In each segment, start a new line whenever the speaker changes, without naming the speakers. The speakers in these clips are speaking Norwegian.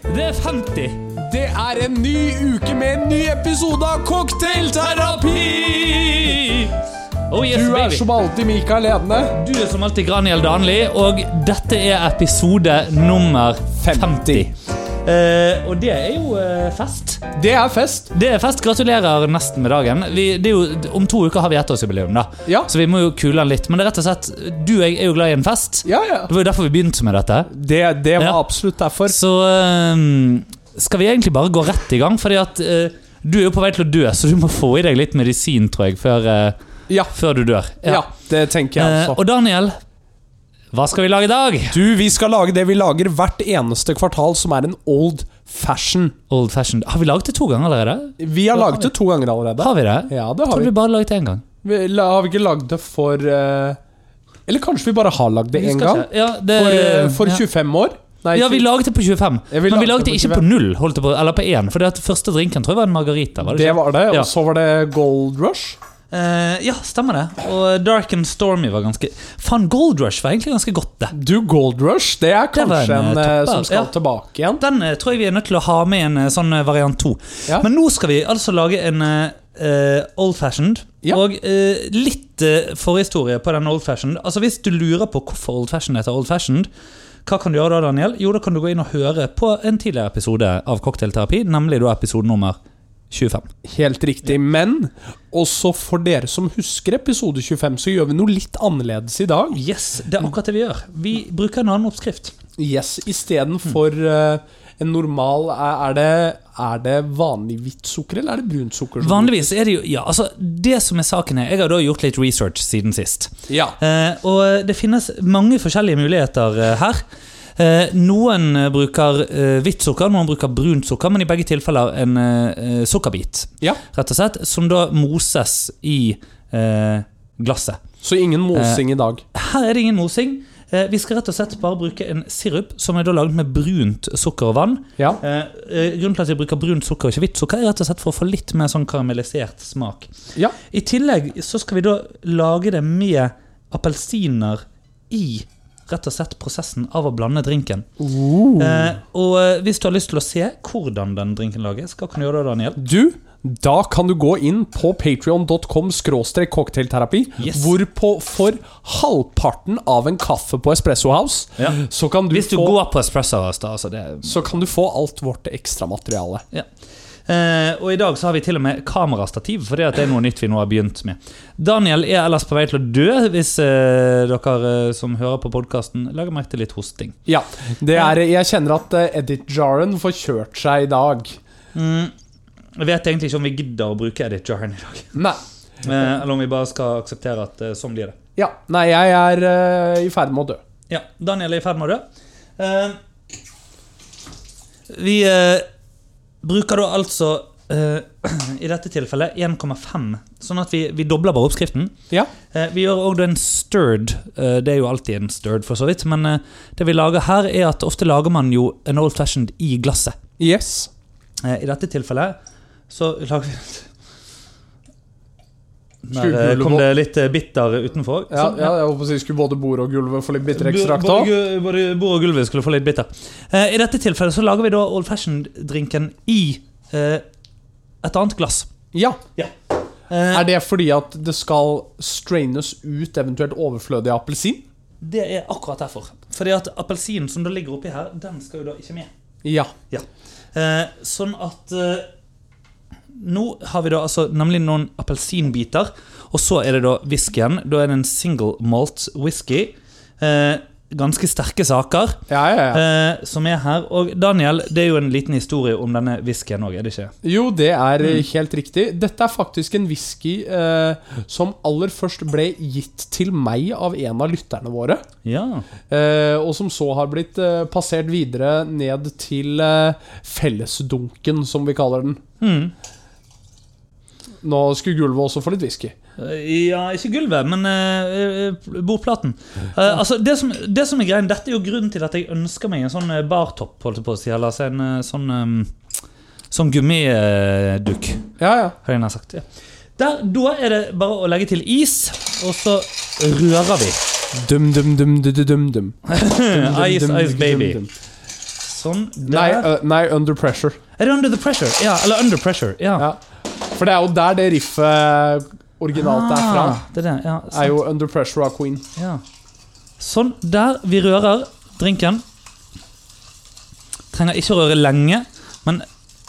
50.
Det er en ny uke med en ny episode av Cocktailterapi!
Oh yes,
Du er
baby.
som alltid Mikael Edne.
Du er som alltid Graniel Danli, og dette er episode nummer 50. Eh, og det er jo eh, fest.
Det er fest.
Det er fest. Gratulerer nesten med dagen. Vi, det er jo, om to uker har vi ettårsjubileum, da.
Ja.
så vi må jo kule den litt. Men det er rett og slett, du og jeg er jo glad i en fest.
Ja, ja.
Det var jo derfor vi begynte med dette.
Det, det var
Ja.
absolutt derfor.
Så eh, skal vi egentlig bare gå rett i gang, fordi at eh, du er jo på vei til å dø, så du må få i deg litt medisin, tror jeg, før, eh,
Ja,
før du dør.
ja. det tenker jeg
Eh,
også.
og Daniel, hva skal vi lage i dag?
Du, vi skal lage det vi lager hvert eneste kvartal, som er en old fashion.
Old fashioned. Har vi laget det to ganger allerede?
Vi har
Da har
laget det to ganger allerede.
Har vi det?
Ja, det
Tror
har
vi
vi.
bare laget det én gang.
vi la- har vi ikke lagd det for eh, Eller kanskje vi bare har lagd det
Vi
én
skal
gang?
ikke- Ja, det,
For, eh, for
ja.
25 år? Nei,
ja, vi laget det på 25,
Ja, vi
men vi
lagde
lagde det
på
ikke på
25.
null, holdt jeg på, eller på én. For det at første drinken tror jeg var en margarita. Var det,
det
ikke?
var det.
Ja.
Og så var det Gold Rush.
Eh, ja, stemmer det. Og Dark and Stormy var ganske Faen, Gold Rush var egentlig ganske godt, det.
Du, Gold Rush, det er
Det var
kanskje
en,
en,
eh,
eh,
topper,
som skal
ja.
tilbake igjen.
Den eh, tror jeg vi er nødt til å ha med i en eh, sånn eh, variant to.
Ja.
Men nå skal vi altså lage en eh, eh, old fashioned.
Ja.
Og eh, litt eh, forhistorie på den old fashioned. Altså Hvis du lurer på hvorfor old fashioned heter old fashioned, hva kan du gjøre da, Daniel? Jo, da kan du gå inn og høre på en tidligere episode av Cocktailterapi, nemlig da episode nummer 25.
Helt riktig. Men også for dere som husker episode 25, så gjør vi noe litt annerledes i dag.
Yes, det er akkurat det vi gjør. Vi bruker en annen oppskrift.
Yes,
Mm.
Istedenfor uh, en normal er er det, er det vanlig hvitt sukker, eller er det brunt sukker? som-
Vanligvis er det jo Ja, altså, det som er saken her Jeg har da gjort litt research siden sist.
Ja.
Eh, og det finnes mange forskjellige muligheter eh, her. Eh, noen eh, bruker eh, hvitt sukker, noen bruker brunt sukker, men i begge tilfeller en eh, eh, sukkerbit,
ja.
rett og slett, som da moses i eh, glasset.
Så ingen mosing
Eh.
i dag.
Her er det ingen mosing. Eh, vi skal rett og slett bare bruke en sirup som er da laget med brunt sukker og vann.
Ja.
Eh, eh, grunnen til at vi bruker brunt sukker og ikke hvitt sukker, er rett og slett for å få litt mer sånn karamellisert smak.
ja.
I tillegg så skal vi da lage det med appelsiner i rett og slett prosessen av å blande drinken. Eh, og eh, hvis du har lyst til å se hvordan den drinken lages, hva kan du gjøre da, Daniel?
Du, da kan du gå inn på patreon.com skråstrek cocktailterapi,
Yes.
hvorpå for halvparten av en kaffe på Espresso House,
Ja.
så, kan du
Hvis du
få,
går på Espresso House, da. Altså det,
så kan du få alt vårt ekstramateriale.
ja. eh, og i dag så har vi til og med kamerastativ, for det at det er noe nytt vi nå har begynt med. Daniel er ellers på vei til å dø, hvis eh, dere eh, som hører på podkasten legger merke til litt hosting.
Ja, det er, jeg kjenner at eh, edit jaren får kjørt seg i dag.
Jeg vet egentlig ikke om vi gidder å bruke Edit Jaren i dag.
Nei,
Eh, eller om vi bare skal akseptere at eh, sånn blir det.
ja, nei jeg er eh, i ferd med å dø.
Ja, Daniel er i ferd med å dø. Eh, vi eh, bruker da altså eh, i dette tilfellet 1,5, sånn at vi, vi dobler bare oppskriften.
Ja,
Eh, vi gjør òg en stirred. Eh, det er jo alltid en stirred, for så vidt. Men eh, det vi lager her, er at ofte lager man jo en old fashioned i glasset.
yes.
Eh, I dette tilfellet så lager vi Der eh,
Skulle du
kom
gå-
det litt eh, bitter utenfor.
Ja,
Sånn,
ja, jeg håper å si skulle både bordet og gulvet få litt bitter ekstrakt
Både-
òg.
Både, både bord og gulvet skulle få litt bitter. Eh, I dette tilfellet så lager vi da old fashioned-drinken i eh, et annet glass.
Ja.
Eh,
Er det fordi at det skal straines ut eventuelt overflødig appelsin?
det er akkurat derfor. Fordi at appelsinen som da ligger oppi her, den skal jo da ikke med.
Ja.
Eh, sånn at eh, Nå har vi da altså nemlig noen appelsinbiter, og så er det da whiskyen. Da er det en single malt whisky. Eh, ganske sterke saker.
Ja, ja, ja.
eh, som er her. Og Daniel, det er jo en liten historie om denne whiskyen òg, er det ikke?
Jo, det er eh, helt riktig. Dette er faktisk en whisky eh, som aller først ble gitt til meg av en av lytterne våre.
Ja.
Eh, og som så har blitt eh, passert videre ned til eh, fellesdunken, som vi kaller den.
Mm.
Nå skulle gulvet også få litt whisky.
ja, ikke gulvet, men eh, eh, bordplaten. Eh, altså, det som, det som er greien, Dette er jo grunnen til at jeg ønsker meg en sånn eh, bartopp, holdt jeg på å si. Eller altså en eh, sånn, em, sånn gummiduk,
Ja, ja.
har jeg nær sagt. Ja. Der, Da er det bare å legge til is, og så rører vi.
Dum, dum, dum, du, du, dum, dum. Dum, dum,
Ice,
dum,
ice
dum,
baby.
dum, dum.
Sånn. Der.
Nei, ø, nei, Under Pressure.
Er det Under the Pressure? Ja, eller Under Pressure. Ja.
Ja. For det er jo der det riffet originalt er fra.
Ah, det er det. Ja,
Er
sant.
jo Under Pressure av Queen.
ja. Sånn. Der. Vi rører drinken. Trenger ikke å røre lenge, men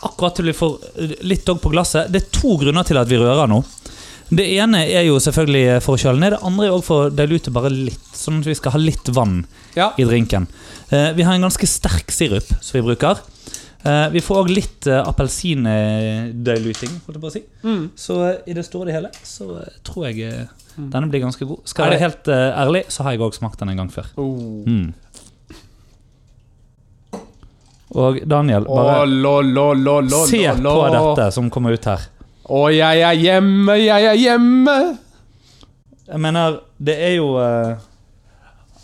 akkurat til vi får eh, litt dog på glasset. Det er to grunner til at vi rører nå. Det ene er jo selvfølgelig for å kjøle ned. Det andre er også for å dilute bare litt, sånn at vi skal ha litt vann
Ja.
i drinken. Eh, vi har en ganske sterk sirup som vi bruker. Eh, vi får òg litt uh, appelsindiluting, holdt jeg på å si.
Mm.
Så eh, i det store og det hele så eh, tror jeg eh,
Mm.
denne blir ganske god. Skal jeg være helt eh, ærlig, så har jeg òg smakt den en gang før.
Oh.
Mm. Og Daniel,
Å,
bare
lo, lo, lo, lo,
se
lo, lo.
på dette som kommer ut her.
Å, jeg er hjemme, jeg er hjemme.
Jeg mener, det er jo eh,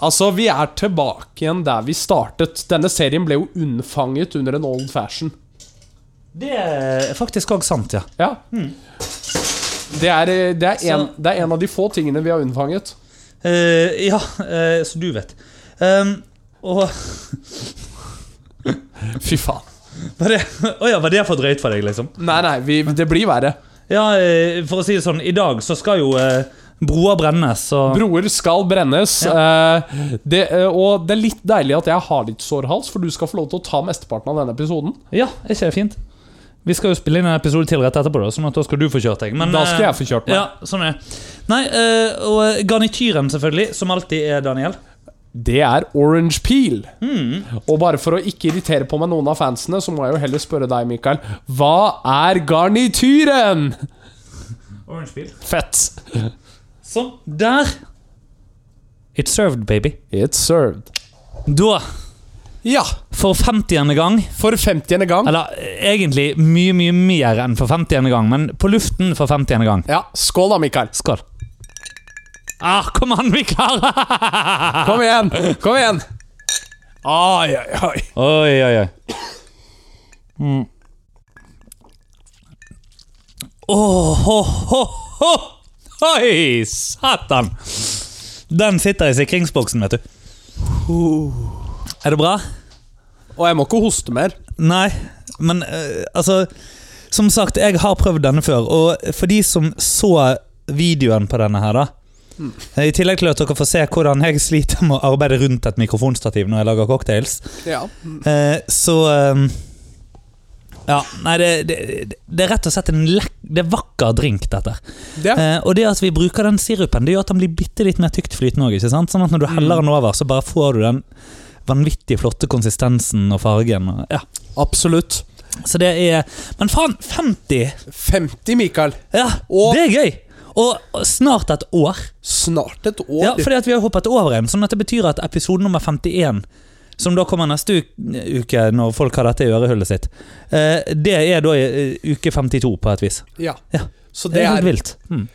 Altså, vi er tilbake igjen der vi startet. Denne serien ble jo unnfanget under en old fashion.
Det er faktisk òg sant, ja.
Ja. Det, er, eh, det, er en,
Hmm. Så-
det er en av de få tingene vi har unnfanget.
Eh, ja, eh, så du vet. Um, og
Fy faen.
var det, Å ja, var det for drøyt for deg, liksom?
Nei, nei, vi, det blir verre.
Ja, eh, for å si det sånn, i dag så skal jo eh, broer brennes, så
Broer skal brennes. eh, det, eh, og det er litt deilig at jeg har litt sårhals, for du skal få lov til å ta mesteparten av denne episoden.
Ja, er ikke det fint? Vi skal jo spille inn en episode til rett etterpå, da, sånn at da skal du få kjørt deg. Men,
da skal
eh,
jeg få kjørt meg.
Ja, sånn er det. Nei, eh, og eh, garnityren selvfølgelig, som alltid er Daniel.
Det er orange peel. Og bare for å ikke irritere på meg noen av fansene, så må jeg jo heller spørre deg, Mikael. Hva er garnityren?
Orange peel.
Fett.
Sånn, der. It's served, baby.
It's served.
Da,
Ja,
for 50. gang,
for 50. gang.
eller eh, egentlig mye, mye mer enn for 50. gang, men på luften for 50. gang.
Ja, skål da, Mikael.
Skål. Ah, kom an, vi klarer!
Kom igjen. Kom igjen. Oi, oi, oi.
Oi, oi, oi. Mm. Åh, ho, ho, ho. Oi, satan! Den sitter i sikringsboksen, vet du. Er det bra?
Og jeg må ikke hoste mer.
Nei, men eh, altså Som sagt, jeg har prøvd denne før, og for de som så videoen på denne her, da eh, I tillegg til at dere får se hvordan jeg sliter med å arbeide rundt et mikrofonstativ når jeg lager cocktails,
Ja.
Eh, så ehm, Ja, nei, det, det, det- det er rett og slett en lek, det er vakker drink, dette.
Det.
Eh, og det at vi bruker den sirupen, det gjør at den blir bitte litt mer tyktflytende òg. Sånn at når du
Mm.
heller den over, så bare får du den vanvittig flotte konsistensen og fargen. Og, ja.
Absolutt.
Så det er Men faen, 50!
50, Mikael.
Ja,
Og-
det er gøy! Og og snart et år.
Snart et år.
Ja, fordi at vi har hoppet over en, sånn at det betyr at episode nummer 51, som da kommer neste uke, uke når folk har dette i ørehullet sitt, eh, det er da eh, uke 52 på et vis.
Ja.
Ja.
Så
Det er helt vilt. Mm.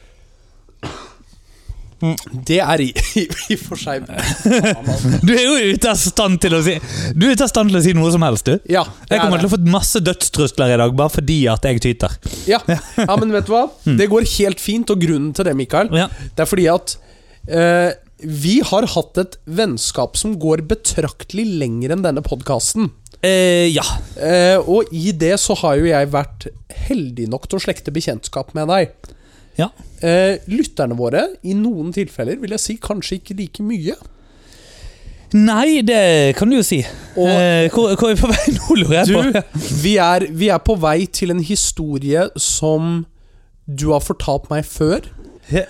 det er i, i, i for seg Faen, altså.
Du er jo ute av stand til å si Du er ute av stand til å si noe som helst, du.
Ja. det
Jeg
er
kommer
det.
til å få masse dødstrusler i dag bare fordi at jeg tyter.
Ja. ja, men vet du hva? Det går helt fint, og grunnen til det, Mikael,
Mm. Ja.
det er fordi at eh, vi har hatt et vennskap som går betraktelig lenger enn denne podkasten.
Eh, ja.
og i det så har jo jeg vært heldig nok til å slekte bekjentskap med deg.
Ja.
Eh, lytterne våre, i noen tilfeller, vil jeg si kanskje ikke like mye.
Nei, det kan du jo si.
Og-
eh, hvor, hvor er vi på vei nå, lurer jeg på?
Du, vi er, vi er på vei til en historie som du har fortalt meg før.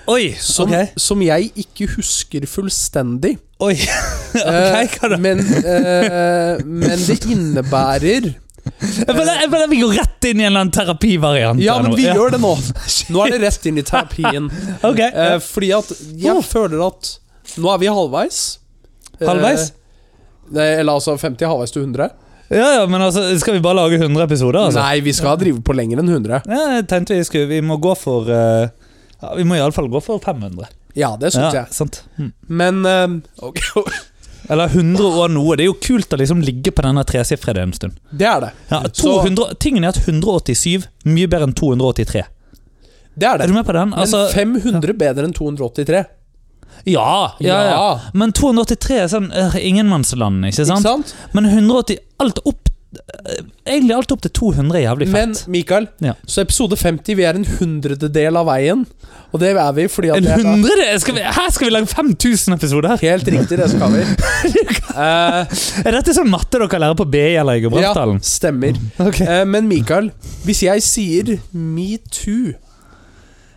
Oi!
Som,
ok.
som jeg ikke husker fullstendig.
Oi.
Eh,
ok, hva da?
men, eh, men det innebærer
Jeg føler, jeg føler vi går rett inn i en eller annen terapivariant.
Ja,
her
men
nå.
vi gjør det nå. Nå er det rett inn i terapien.
Ok. Oh.
Eh, fordi at jeg føler at Nå er vi halvveis. Eh,
Halvveis?
nei, eller altså 50 halvveis til 100.
ja, ja, men altså, skal vi bare lage 100 episoder, altså?
Nei, vi skal drive på lenger enn 100.
Ja, jeg tenkte vi skulle Vi må gå for eh, ja, Vi må iallfall gå for 500.
Ja, det
Ja,
syns jeg.
sant. Mm.
Men eh, ok,
Eller 100 og noe. Det er jo kult å liksom ligge på denne tresifrede en stund.
Det er det.
Ja,
Mm, Så-
200, tingen er at 187 mye bedre enn 283.
Det er
Er
det.
du med på den?
Men
Altså,
500 bedre enn 283.
Ja, ja, ja.
Ja.
Men 283 er sånn øh, ingenmannsland, ikke
Ikke
sant?
sant?
Men 180 Alt opp øh, Egentlig alt opp til 200 er jævlig
Men
fett.
Mikael,
Ja.
så episode 50 Vi er en hundrededel av veien. Og det er vi fordi at
en
det er-
hundrede? Skal vi, her skal vi lage 5000 episoder!
Helt riktig, det skal vi. Eh,
Er dette sånn matte dere lærer på BI eller i
ja,
Gudbrandsdalen?
stemmer.
Ja.
Eh, men Mikael, hvis jeg sier metoo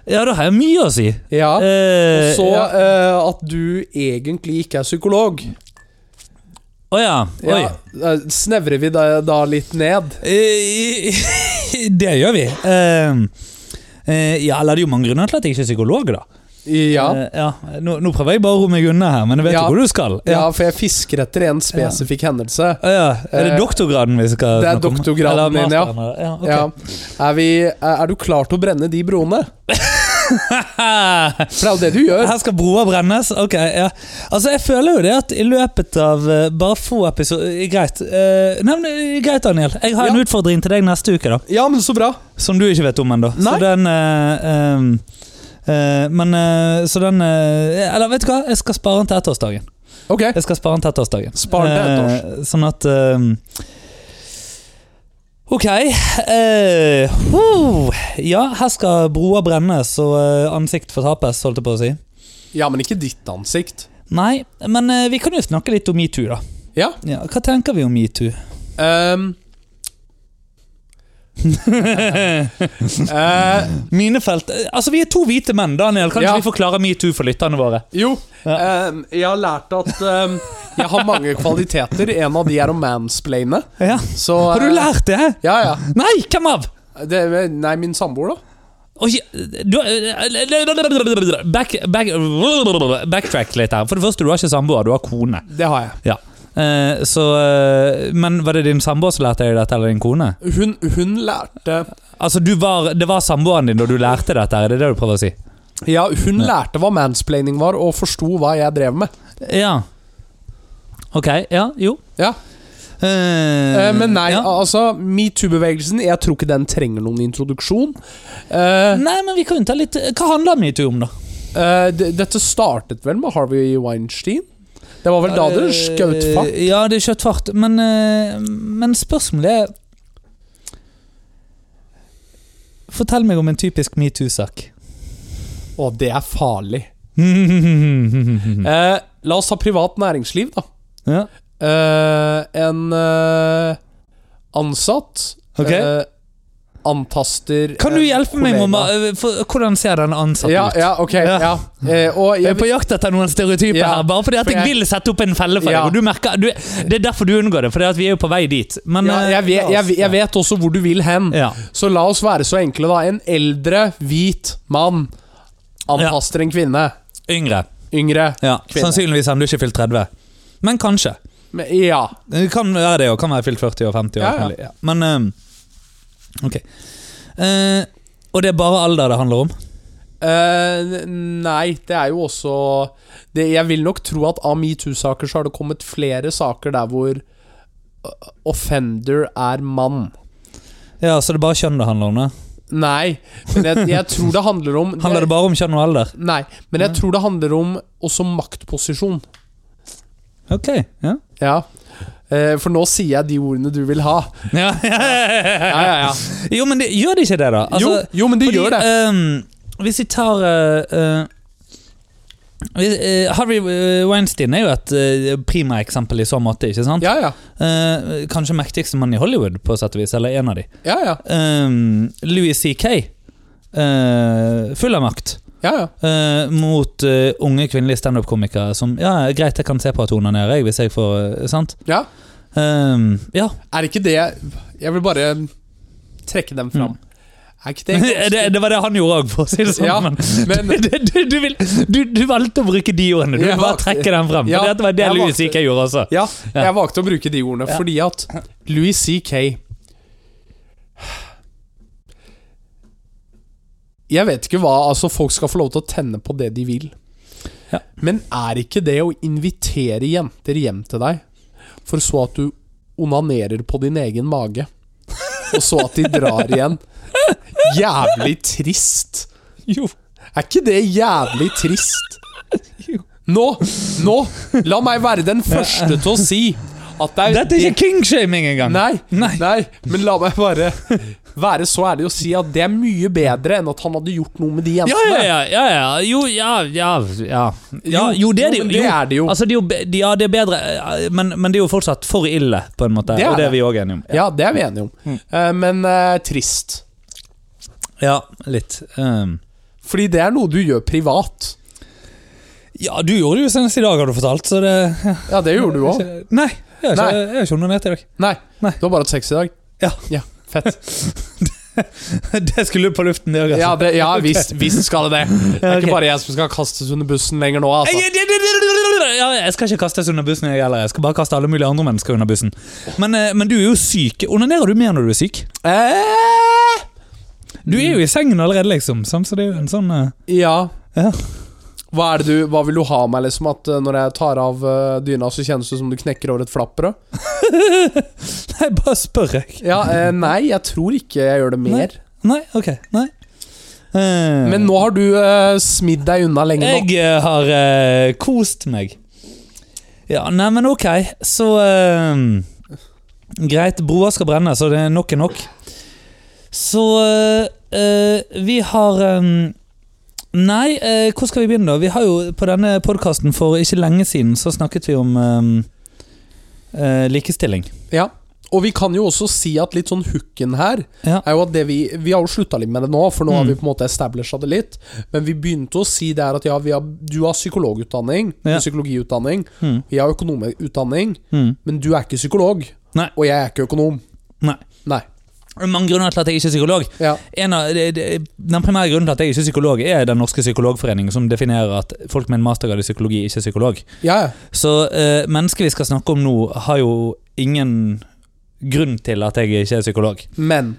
ja, da har jeg mye å si.
ja,
Eh,
Så
ja.
eh, at du egentlig ikke er psykolog
Å ja.
ja,
Oi.
eh, Snevrer vi da, da litt ned?
Eh, det gjør vi. Eh, eh, ja, eller det er jo mange grunner til at jeg ikke er psykolog, da.
Ja,
Eh, ja. Nå, nå prøver jeg bare å roe meg unna her, men jeg vet jo
Ja.
hvor du skal. Ja.
ja for jeg fisker etter en spesifikk hendelse.
Å ja. Er det
Eh,
doktorgraden vi skal
det er
snakke om?
doktorgraden
Eller
min, ja.
masteren, eller- ja, ok.
Ja. Er, vi, er du klar til å brenne de broene? For det er jo det du gjør.
Her skal broer brennes? Ok, ja. Altså, jeg føler jo det at i løpet av eh, bare få episoder Greit. Eh, nei, men, eh, greit, Daniel. Jeg har en
Ja.
utfordring til deg neste uke, da.
Ja, men så bra.
Som du ikke vet om ennå. Så
Nei.
den eh, ehm, eh, Men eh, så den eh, Eller vet du hva? Jeg skal spare den til ettårsdagen.
Ok.
Jeg skal spare den til ettårsdagen.
Spar den til ettårs.
Eh, sånn at ehm, Ok. eh, huh. ja, her skal broer brennes og eh, ansikt fortapes, holdt jeg på å si.
Ja, men ikke ditt ansikt.
Nei, men eh, vi kan jo snakke litt om metoo, da.
Ja.
Ja, hva tenker vi om metoo?
ehm, eh,
Mine felt eh, Altså, vi er to hvite menn, Daniel. Kan ikke
Ja.
vi forklare metoo for lytterne våre?
jo, ehm, jeg har lært at ehm, jeg har mange kvaliteter. En av de er å mansplaine.
Ja.
Så,
Har
eh,
du lært det?
Ja, ja.
Nei, hvem av?
Det, nei, min samboer, da.
Oi, du, eh, back, back, backtrack litt her. For det første, du har ikke samboer, du har kone.
Det har jeg.
Ja. Eh, så, eh, men var det din samboer som lærte deg dette, eller din kone?
Hun, hun lærte
Altså, du var, Det var samboeren din da du lærte dette, er det det du prøver å si?
Ja, hun lærte hva mansplaining var, og forsto hva jeg drev med.
Ja. Ok. Ja, jo.
Ja,
Eh,
eh, Men nei,
ja.
altså metoo-bevegelsen Jeg tror ikke den trenger noen introduksjon. Eh,
Nei, men vi kan jo ta litt eh, Hva handler metoo om, da?
eh, d- dette startet vel med Harvey Weinstein? Det var vel da dere skjøt fart?
Eh, Ja, det er skjøt fart. Men, eh, men spørsmålet er Fortell meg om en typisk metoo-sak.
Å, det er farlig. Eh, la oss ta privat næringsliv, da.
ja.
Eh, en eh, ansatt
Ok.
eh, antaster
Kan du
en
hjelpe meg med
kollega.
å- eh, for, Hvordan ser den ansatte
Ja,
ut?
ja, ok.
Ja.
Ja. Eh, og
Jeg
jeg,
er på jakt etter noen stereotyper
Ja,
her, bare fordi at
for
jeg,
jeg-
vil sette opp en felle for
Ja.
deg. Og du merker, du, det er derfor du unngår det, for vi er jo på vei dit. Men,
ja,
eh,
jeg, vet, jeg, jeg vet også hvor du vil hen.
Ja.
Så la oss være så enkle, da. En eldre, hvit mann antaster en kvinne.
Yngre.
Yngre.
Ja,
Kvinne.
Sannsynligvis har du ikke fylt 30. Men kanskje.
Men, ja.
Det kan være det, og kan være fylt 40 og 50. Og
Ja,
alt
ja.
mulig, ja. Men ehm, Ok. Eh, og det er bare alder det handler om?
Eh, n- nei, det er jo også det, Jeg vil nok tro at av metoo-saker så har det kommet flere saker der hvor uh, offender er mann.
Ja, Så det er bare kjønn det handler om? det
Nei, men jeg, jeg tror det handler om
Handler det bare om kjønn og alder?
Nei, men jeg tror det handler om også maktposisjon.
Ok, ja.
Ja. Eh, for nå sier jeg de ordene du vil ha.
ja. Jo, men det, gjør det ikke det, da? Altså,
jo, jo, men det
Fordi,
gjør det.
ehm, hvis vi tar eh, eh, hvis- eh, Harvey eh, Weinstein er jo et uh, prima eksempel i så måte, ikke sant?
Ja, ja.
Eh, kanskje mektigste mann i Hollywood, på sett og vis, eller en av de.
Ja, ja.
um, Louis C.K. eh, full av makt
ja, ja.
eh, mot eh, unge kvinnelige standup-komikere som Ja, greit, jeg kan se på at hun er nede, jeg, hvis jeg får eh, Sant?
ja.
Ehm, ja.
Er ikke det Jeg vil bare trekke dem fram. Er ikke det
Mm. det, det var det han gjorde òg, for å si det sånn.
Ja,
men,
men-
du, du, du, vil, du, du valgte å bruke de ordene. Du
Jeg
vil bare
valgte-
trekke dem frem.
Ja,
for det var det
jeg
Louis
valgte-
C.K. gjorde også.
Ja,
Ja.
jeg valgte å bruke de ordene
Ja.
fordi at Louis C.K. Jeg vet ikke hva Altså, folk skal få lov til å tenne på det de vil.
Ja.
Men er ikke det å invitere jenter hjem til deg, for så at du onanerer på din egen mage, og så at de drar igjen Jævlig trist.
Jo,
Er ikke det jævlig trist?
jo.
Nå! Nå! La meg være den første til å si at det er
Dette er ikke kingshaming engang!
Nei, nei,
Nei.
men la meg bare være så ærlig og si at det er mye bedre enn at han hadde gjort noe med de
Ja,
jentene.
ja, ja, ja, ja. Jo, ja, ja, ja. ja
Jo,
Jo, det er det
jo,
jo.
men det er det jo.
Altså, det er jo be- ja, det er bedre, eh, men, men det er jo fortsatt for ille, på en måte.
Det er
og det
det.
er vi òg enige om.
Ja, det er vi enige om.
Mm.
Eh, men eh, trist.
Ja, litt.
Um,
ehm.
Fordi det er noe du gjør privat.
ja, du gjorde det jo senest i dag, har du fortalt, så det
Ja, det gjorde du òg.
Nei, jeg
Nei.
har ikke onanert i dag.
Nei.
Nei.
Du har bare hatt sex i dag?
Ja.
Fett.
det skulle på luften, det òg,
Ja, det, ja visst, visst skal det det. Det er
Ok.
ikke bare jeg som skal kastes under bussen lenger nå, altså.
Jeg, jeg- jeg- jeg- jeg- jeg skal ikke kastes under bussen, jeg heller. Jeg skal bare kaste alle mulige andre mennesker under bussen. Men, eh, men du er jo syk. Onanerer du mer når du er syk?
Eh,
Du er jo i sengen allerede, liksom. sant? Så det er jo en sånn eh,
ja.
Ja.
Hva, er det du, hva vil du ha av meg, liksom? At eh, når jeg tar av eh, dyna, så kjennes det som du knekker over et flappbrød?
Nei, bare spør, jeg.
Ja, eh, nei, jeg tror ikke jeg gjør det mer.
Nei, ok. Nei. Eh,
Men nå har du eh, smidd deg unna lenge nok.
Jeg eh, har eh, kost meg. Ja, nei, men ok. Så eh, Greit, broer skal brenne, så det er nok er nok. Så eh, eh, vi har eh, Nei, eh, hvor skal vi begynne, da? Vi har jo På denne podkasten for ikke lenge siden så snakket vi om eh, eh, likestilling.
Ja. Og vi kan jo også si at litt sånn hooken her
Ja.
er jo at det vi Vi har jo slutta litt med det nå, for nå har
Mm.
vi på en måte establisha det litt. Men vi begynte å si det her at ja, vi har, du har psykologutdanning,
Ja.
psykologiutdanning.
Mm,
Vi har økonomutdanning,
mm.
men du er ikke psykolog.
Nei.
Og jeg er ikke økonom.
Nei.
Nei.
Det er Mange grunner til at jeg ikke er psykolog.
Ja.
En av, det, det, den primære grunnen til at jeg ikke er psykolog, er Den norske psykologforeningen, som definerer at folk med en mastergrad i psykologi ikke er psykolog.
ja. ja.
Så eh, mennesket vi skal snakke om nå, har jo ingen grunn til at jeg ikke er psykolog.
Men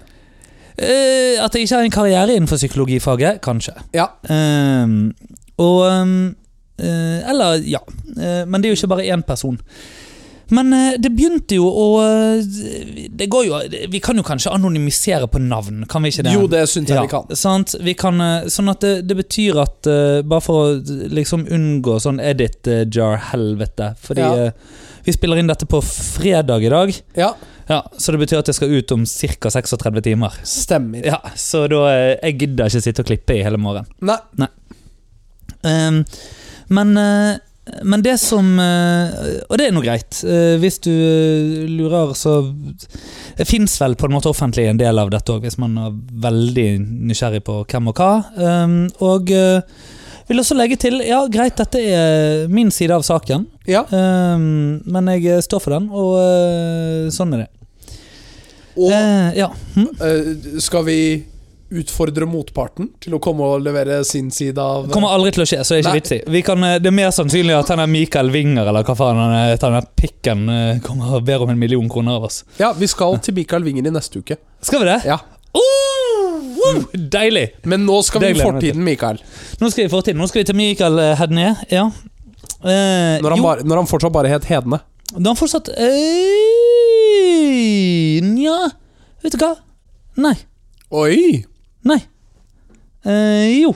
Eh, at jeg ikke har en karriere innenfor psykologifaget, kanskje.
Ja.
Ehm, og ehm, eh, Eller, ja. Eh, men det er jo ikke bare én person. Men eh, det begynte jo å eh, Det går jo Vi kan jo kanskje anonymisere på navn, kan vi ikke det?
Jo, det syns jeg vi kan.
Sant? Vi kan eh, sånn at det, det betyr at eh, Bare for å eh, liksom unngå sånn edit eh, jar-helvete. Fordi
Ja.
eh, vi spiller inn dette på fredag i dag,
Ja,
ja, så det betyr at det skal ut om ca. 36 timer.
stemmer.
Ja, så da eh, Jeg gidder ikke sitte og klippe i hele morgen.
Nei.
Ehm, men, eh, men det som eh, Og det er nå greit. Eh, hvis du eh, lurer, så Det fins vel på en måte offentlig en del av dette òg, hvis man er veldig nysgjerrig på hvem og hva. Ehm, og eh, vil også legge til Ja, greit, dette er min side av saken.
Ja.
Ehm, men jeg eh, står for den, og eh, sånn er det.
Og
Eh, ja. Hm?
eh, skal vi utfordre motparten til å komme og levere sin side av
Det kommer aldri til å skje, så det er ikke
Nei.
vits i. Vi kan, eh, det er mer sannsynlig at han er Michael Winger eller hva faen han er, at han er pikken eh, kommer og ber om en million kroner av oss.
Ja, vi skal til Mikael Wingen i neste uke.
Skal vi det?
Ja.
Oh, wow, deilig!
Men nå skal vi
Det
i
gleder jeg meg til.
fortiden, Mikael.
Nå skal vi i fortiden. Nå skal vi til Michael eh, Hedné. Ja. Eh,
Når han,
jo,
bare, når han fortsatt bare het Hedne.
da han fortsatt eh, Nja, vet du hva? Nei.
Oi!
Nei. Eh, jo.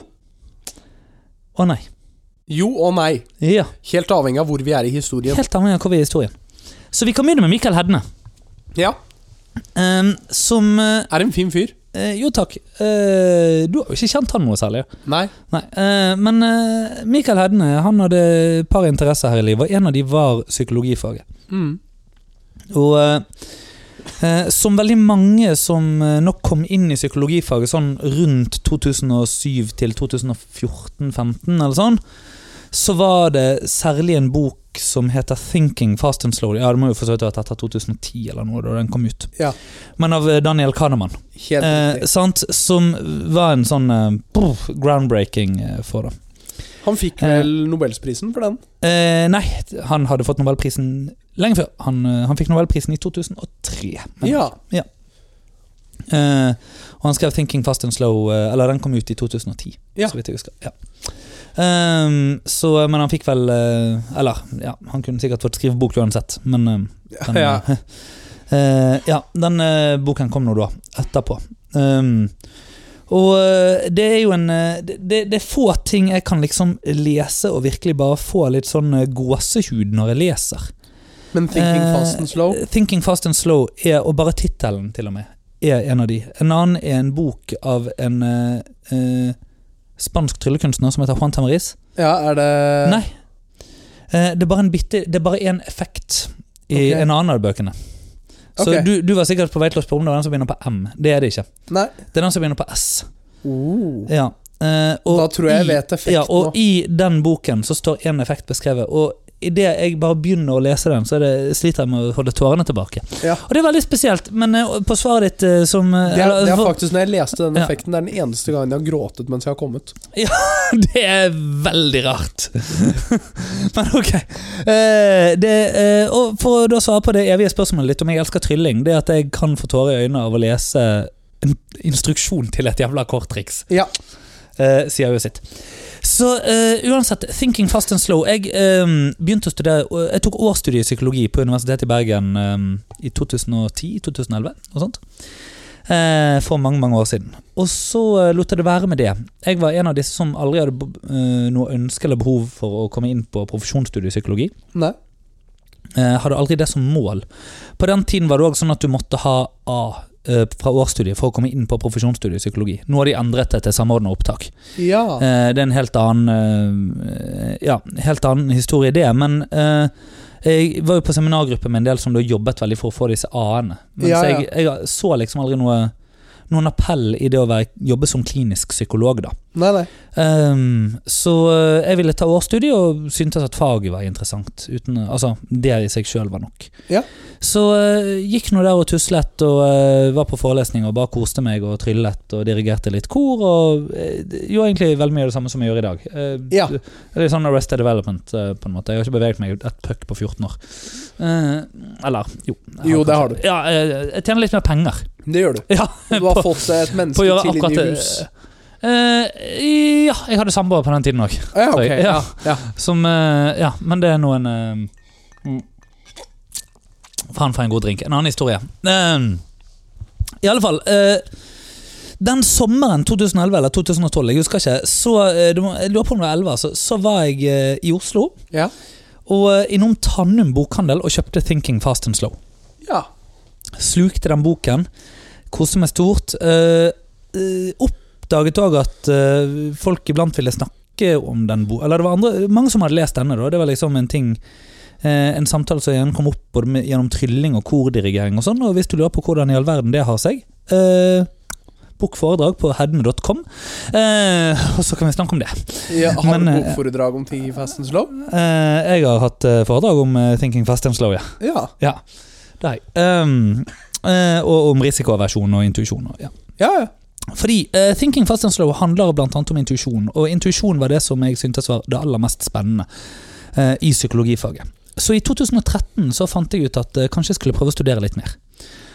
Å nei.
Jo og nei.
Ja.
Helt avhengig av hvor vi er i historien.
Helt avhengig av hvor vi er i historien. Så vi kan begynne med Michael Hedne,
Ja,
eh, som eh,
Er en fin fyr.
Eh, jo takk. Eh, du har jo ikke kjent han noe særlig. ja.
Nei.
Nei, eh, men eh, Mikael Hedne han hadde et par interesser her i livet, og en av de var psykologifaget.
Mm.
Og eh, eh, som veldig mange som eh, nok kom inn i psykologifaget sånn rundt 2007 til 2014-15 eller sånn, så var det særlig en bok som heter 'Thinking Fast and Slowly'. Ja, det må jo for så vidt ha vært etter 2010 eller noe, da den kom ut.
Ja.
Men av eh, Daniel Kahneman.
Helt
Eh,
riktig.
sant? Som var en sånn eh, brr, groundbreaking eh, for det.
Han fikk
eh,
vel Nobelsprisen for den?
Eh, nei, han hadde fått Nobelprisen lenge før. Han, eh, han fikk Nobelprisen i 2003. Men,
Ja.
eh, og han skrev 'Thinking Fast and Slow', eh, eller den kom ut i 2010.
Ja.
Så vidt jeg husker. Ja. Ehm, så, men han fikk vel eh, Eller, ja, han kunne sikkert fått skrivebok uansett, men eh, Den,
ja.
eh, ja, den eh, boken kom nå da, etterpå. Um, Og eh, det er jo en eh, det, det- det er få ting jeg kan liksom lese og virkelig bare få litt sånn eh, gåsehud når jeg leser.
Men Thinking
Eh,
Fast and Slow
'Thinking Fast and Slow' er, og bare tittelen til og med, er en av de. En annen er en bok av en eh, eh, spansk tryllekunstner som heter Juan Tamariz.
Ja, er det
Nei. Eh, det er bare en bitte Det er bare én effekt i
Ok.
en annen av bøkene. Så
Ok.
du, du var sikkert på vei til å spørre om det var den som begynner på M. Det er det ikke.
Nei.
Det er den som begynner på S.
Oh.
Ja. Eh, og
Da tror jeg jeg
i-
vet effekten
ja, og
nå.
i den boken så står én effekt beskrevet. Og idet jeg bare begynner å lese den, så er det, sliter jeg med å holde tårene tilbake.
Ja.
Og det er veldig spesielt, men eh, på svaret ditt eh, som eh,
Det er,
eller-
det er
for-
faktisk når jeg leste den
Ja.
effekten, det er den eneste gangen jeg har gråtet mens jeg har kommet.
Det er veldig rart. Men ok. Eh, det, eh, og for å da svare på det evige spørsmålet litt om jeg elsker trylling, det at jeg kan få tårer i øynene av å lese en instruksjon til et jævla korttriks,
Ja.
eh, sier jo sitt. Så eh, uansett, thinking fast and slow. Jeg eh, begynte å studere og Jeg tok årsstudie i psykologi på Universitetet i Bergen eh, i 2010-2011 og sånt. Eh, for mange, mange år siden. Og så eh, lot jeg det være med det. Jeg var en av disse som aldri hadde bo- eh, noe ønske eller behov for å komme inn på profesjonsstudiet i psykologi.
Nei.
Eh, hadde aldri det som mål. På den tiden var det også sånn at du måtte ha A eh, fra årsstudiet for å komme inn på profesjonsstudiet i psykologi. Nå har de endret det til samordna opptak.
Ja.
Eh, det er en helt annen eh, Ja, helt annen historie, det. Men eh, jeg var jo på seminargruppe med en del som da jobbet veldig for å få disse A-ene. Men
Ja,
så
ja.
jeg, jeg så liksom aldri noe noen appell i det å være, jobbe som klinisk psykolog, da.
Nei, nei.
Ehm, så eh, jeg ville ta årsstudie og syntes at faget var interessant. Uten, altså, det i seg sjøl var nok.
Ja.
Så eh, gikk nå der og tuslet og eh, var på forelesning og bare koste meg og tryllet og dirigerte litt kor. Og eh, gjorde egentlig veldig mye av det samme som jeg gjør i dag. Eh,
Ja.
det er Litt sånn Arrested Development, eh, på en måte. Jeg har ikke beveget meg et puck på 14 år. Eh, eller jo. jeg
Jo, det har
kanskje- Ja, eh, jeg tjener litt mer penger.
Det gjør du.
Ja,
Du har fått deg et menneske
på å gjøre
til
akkurat
inn i
det.
hus.
Eh, ja, jeg hadde samboer på den tiden òg.
Ah, ja, ok.
Sorry.
Ja.
Ja.
Ja.
Som eh, Ja, men det er noen eh, mm. Faen for en god drink. En annen historie. Eh, I alle fall eh, Den sommeren 2011 eller 2012, jeg husker ikke, så eh, det må- jeg lurer på om det var 11, altså, så var jeg eh, i Oslo
Ja.
og eh, innom Tannum bokhandel og kjøpte 'Thinking Fast and Slow'.
ja.
Slukte den boken, koste meg stort. eh, eh, oppdaget òg at eh, folk iblant ville snakke om den boka. Eller det var andre, mange som hadde lest denne, da. Det var liksom en ting eh, En samtale som igjen kom opp både med, gjennom trylling og kordirigering og sånn. Og hvis du lurer på hvordan i all verden det har seg eh, Bok foredrag på hedme.com, eh, og så kan vi snakke om det.
ja. Har du
Men, eh,
bokforedrag om ting i Fast and Slow?
Eh, jeg har hatt eh, foredrag om eh, Thinking Fast and Slow, ja.
Ja.
Det har jeg. Ehm, eh, og om risikoaversjon og intuisjon. og- Ja.
Ja, ja.
Fordi eh, Thinking Fast and Slow handler blant annet om intuisjon, og intuisjon var det som jeg syntes var det aller mest spennende eh, i psykologifaget. Så i 2013 så fant jeg ut at eh, kanskje jeg skulle prøve å studere litt mer.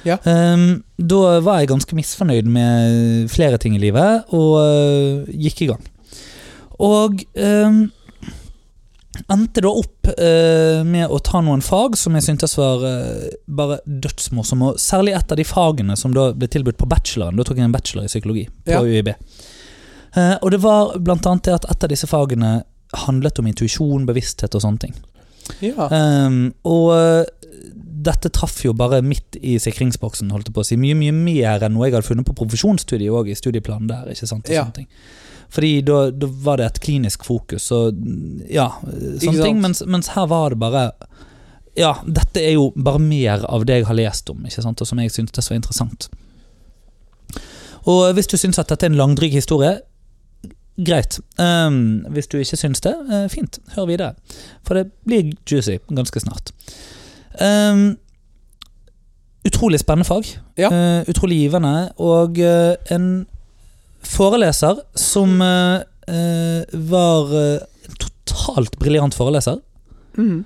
Ja.
Ehm, da var jeg ganske misfornøyd med eh, flere ting i livet, og eh, gikk i gang. Og ehm, endte da opp eh, med å ta noen fag som jeg syntes var eh, bare dødsmorsomme. Og særlig et av de fagene som da ble tilbudt på bacheloren. Da tok jeg en bachelor i psykologi på
Ja.
UiB. Eh, og det var blant annet det at et av disse fagene handlet om intuisjon, bevissthet og sånne ting.
ja.
Ehm, og eh, dette traff jo bare midt i sikringsboksen, holdt jeg på å si. Mye mye mer enn noe jeg hadde funnet på profesjonsstudiet og i studieplanen der. ikke sant? Og
Ja.
sånne ting. Fordi da, da var det et klinisk fokus og ja,
sant?
sånne ting. Mens, mens her var det bare Ja, dette er jo bare mer av det jeg har lest om, ikke sant? og som jeg syntes var interessant. Og hvis du syns at dette er en langdryg historie, greit. Ehm, hvis du ikke syns det, eh, fint, hør videre. For det blir juicy ganske snart. Ehm, utrolig spennende fag.
Ja.
Eh, utrolig givende. Og eh, en foreleser som eh, eh, var eh, en totalt briljant foreleser. Mm.
Mhm.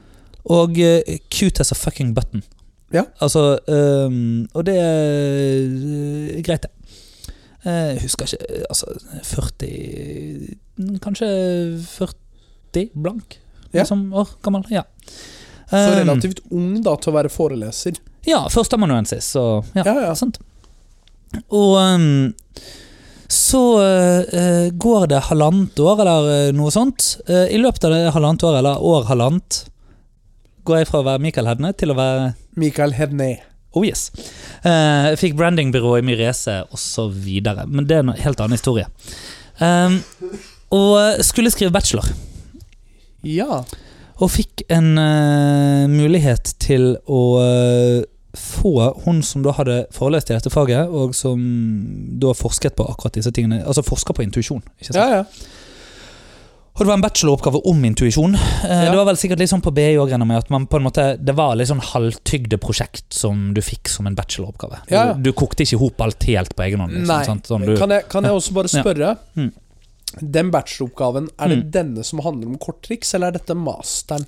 Og eh, cute as a fucking button.
Ja.
Altså ehm, Og det er eh, greit, det. Eh, Jeg husker ikke eh, Altså, 40 Kanskje 40 blank?
Ja.
Liksom år gammel. Ja.
Så
Ehm,
relativt ung da til å være foreleser.
ja, førsteamanuensis, så ja.
Ja, ja.
Sant? Og ehm, så så eh, eh, går det halvannet år eller eh, noe sånt. Eh, I løpet av det halvannet året, eller år halvannet, går jeg fra å være Michael Hedne til å være
Michael Hedney.
Oh yes. Eh, fikk brandingbyrå i Myrese osv. Men det er en helt annen historie. Um, og eh, skulle skrive bachelor,
Ja.
og fikk en eh, mulighet til å eh, få hun som da hadde forelest i dette faget, og som da forsket på akkurat disse tingene, altså forsker på intuisjon. ikke sant?
ja, ja.
Og det var en bacheloroppgave om intuisjon. Eh,
Ja.
Det var vel sikkert litt sånn på BI òg, at man på en måte, det var litt sånn halvtygde prosjekt som du fikk som en bacheloroppgave.
Ja, ja.
Du, du kokte ikke ihop alt helt på egen hånd. Liksom,
Nei.
sant? Sånn, du,
Kan, jeg, kan jeg også bare
Ja.
spørre?
Mm.
Den bacheloroppgaven, er det
Mm.
denne som handler om korttriks, eller er dette masteren?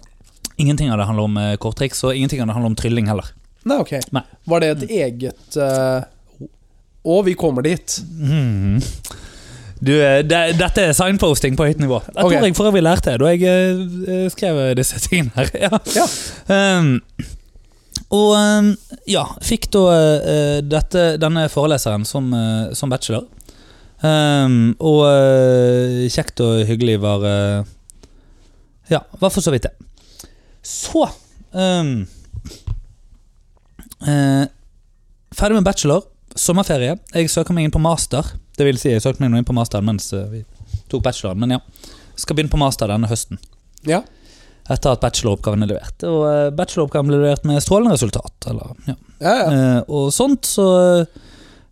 Ingenting av det handler om eh, korttriks, og ingenting av det handler om trylling heller.
Nei, ok.
Nei. Mm.
Var det et eget eh, Å, vi kommer dit.
Mhm. Du, eh, det, dette er signposting på høyt nivå. Jeg
Ok.
tror jeg for øvrig lærte det da jeg eh, eh, skrev disse tingene her. Ja.
Ja.
Ehm, og ehm, ja, fikk da eh, dette, denne foreleseren som, eh, som bachelor. Ehm, og eh, kjekt og hyggelig var eh, Ja, var for så vidt det. Så ehm, eh, Ferdig med bachelor, sommerferie. Jeg søker meg inn på master. Det vil si, jeg søkte meg nå inn på masteren mens eh, vi tok bacheloren, men ja. Skal begynne på master denne høsten
Ja.
etter at bacheloroppgaven er levert. Og eh, bacheloroppgaven ble levert med strålende resultat. Eller, ja.
ja, ja.
Eh, og sånt, så eh,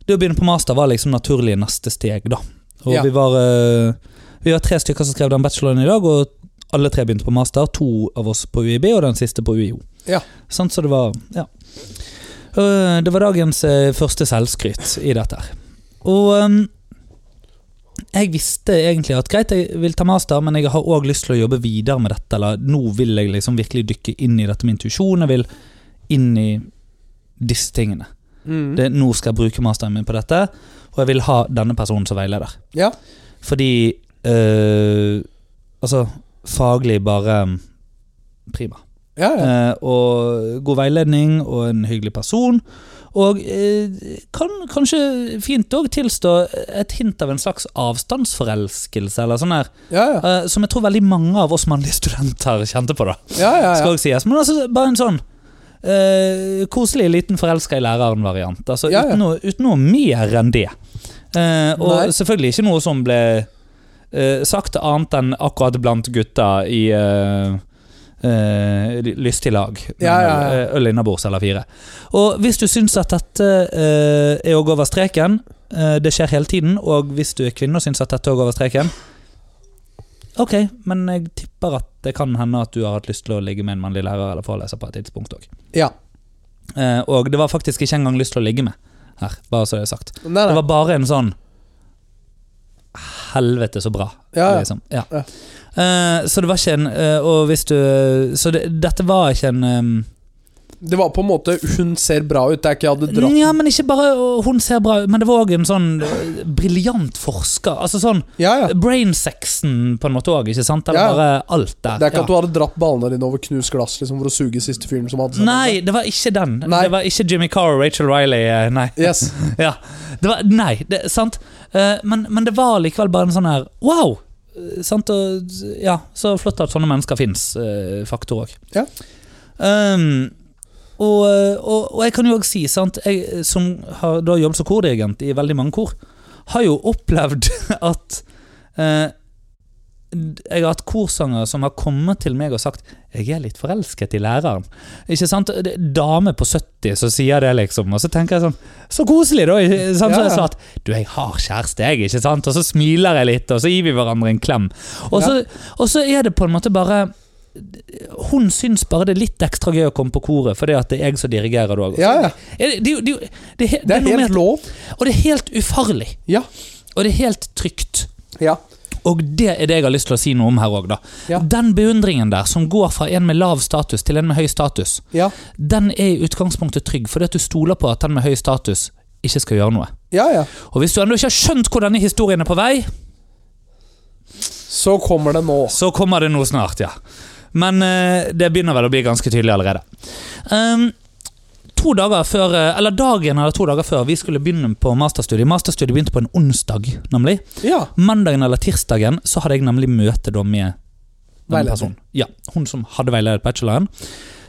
det å begynne på master var liksom naturlig neste steg, da. Og
Ja.
vi var eh, Vi var tre stykker som skrev den bacheloren i dag, og alle tre begynte på master. To av oss på UiB, og den siste på UiO.
Ja.
Sant, så Sånn det var Ja. Eh, det var dagens eh, første selvskryt i dette her. Og ehm, jeg visste egentlig at greit, jeg vil ta master, men jeg har òg lyst til å jobbe videre med dette. Eller nå vil jeg liksom virkelig dykke inn i dette med intuisjon. Jeg vil inn i disse tingene.
Mm.
Det, nå skal jeg bruke masteren min på dette, og jeg vil ha denne personen som veileder.
ja.
Fordi øh, Altså, faglig bare mm, prima.
Ja, ja.
Eh, og god veiledning og en hyggelig person. Og eh, kan kanskje fint òg tilstå et hint av en slags avstandsforelskelse, eller sånn her.
Ja, ja.
eh, som jeg tror veldig mange av oss mannlige studenter kjente på, da.
ja, ja,
Skal
ja.
også sies. Men altså, bare en sånn eh, koselig liten forelska i læreren-variant. Altså,
Ja, ja.
Uten, noe, uten noe mer enn det. Eh, og
Nei.
selvfølgelig ikke noe som ble eh, sagt annet enn akkurat blant gutta i eh, eh, lystig lag.
Ja, ja, ja.
Eh, Øl innabords eller fire. Og hvis du syns at dette eh, er å gå over streken, eh, det skjer hele tiden, og hvis du er kvinne og syns at dette er å gå over streken Ok, men jeg tipper at det kan hende at du har hatt lyst til å ligge med en mannlig lærer eller foreleser på et tidspunkt òg.
ja.
Eh, og det var faktisk ikke engang lyst til å ligge med her, bare så det er sagt.
Nei, nei.
Det var bare en sånn Helvete, så bra.
Ja, ja.
Liksom. Ja.
Ja.
Eh, så det var ikke en eh, Og hvis du Så det, dette var ikke en ehm,
Det var på en måte 'hun ser bra ut', det er ikke 'jeg hadde dratt'.
Ja, men ikke bare å, hun ser bra ut, men det var òg en sånn eh, briljant forsker. Altså sånn
Ja, ja.
brainsexen på en måte òg, ikke sant? Eller
Ja.
bare alt der.
Det er ikke
ja.
at du hadde dratt ballene dine over knust glass liksom, for å suge siste fyren som hadde
Nei, det var ikke den.
Nei.
Det var ikke Jimmy Carr og Rachel Riley. eh, Nei.
Yes.
Ja, det var, nei, det, sant Eh, men, men det var likevel bare en sånn her Wow! Eh, sant? Og, ja, så flott at sånne mennesker fins, eh, faktor òg.
Ja.
Ehm, og, eh, og, og jeg kan jo òg si, sant Jeg som har da jobbet som kordirigent i veldig mange kor, har jo opplevd at eh, jeg har hatt korsangere som har kommet til meg og sagt 'Jeg er litt forelsket i læreren'. Ikke sant? Det er dame på 70 som sier det, liksom. Og så tenker jeg sånn Så koselig, da! ikke Sant? Så
Ja, ja.
jeg sa at 'Du, jeg har kjæreste, jeg', ikke sant? Og så smiler jeg litt, og så gir vi hverandre en klem. Og så, og så er det på en måte bare Hun syns bare det er litt ekstra gøy å komme på koret, fordi at det er jeg som dirigerer det òg.
Ja, ja.
Det, det, er jo- det, er jo- det, er he-
Det
det er
er
noe med
helt
at-
lov.
og det er helt ufarlig.
Ja.
Og det er helt trygt.
Ja.
Og det er det jeg har lyst til å si noe om her òg, da.
Ja.
Den beundringen der, som går fra en med lav status til en med høy status,
Ja.
den er i utgangspunktet trygg, fordi at du stoler på at den med høy status ikke skal gjøre noe.
Ja, ja.
Og hvis du ennå ikke har skjønt hvor denne historien er på vei,
Så kommer det nå.
så kommer det noe snart, ja. Men eh, det begynner vel å bli ganske tydelig allerede. Ehm, to dager før, eh, eller dagen eller to dager før vi skulle begynne på masterstudiet Masterstudiet begynte på en onsdag, nemlig.
Ja.
Mandagen eller tirsdagen så hadde jeg nemlig møte da med denne
Veileder.
personen. Ja, hun som hadde veiledet bacheloren.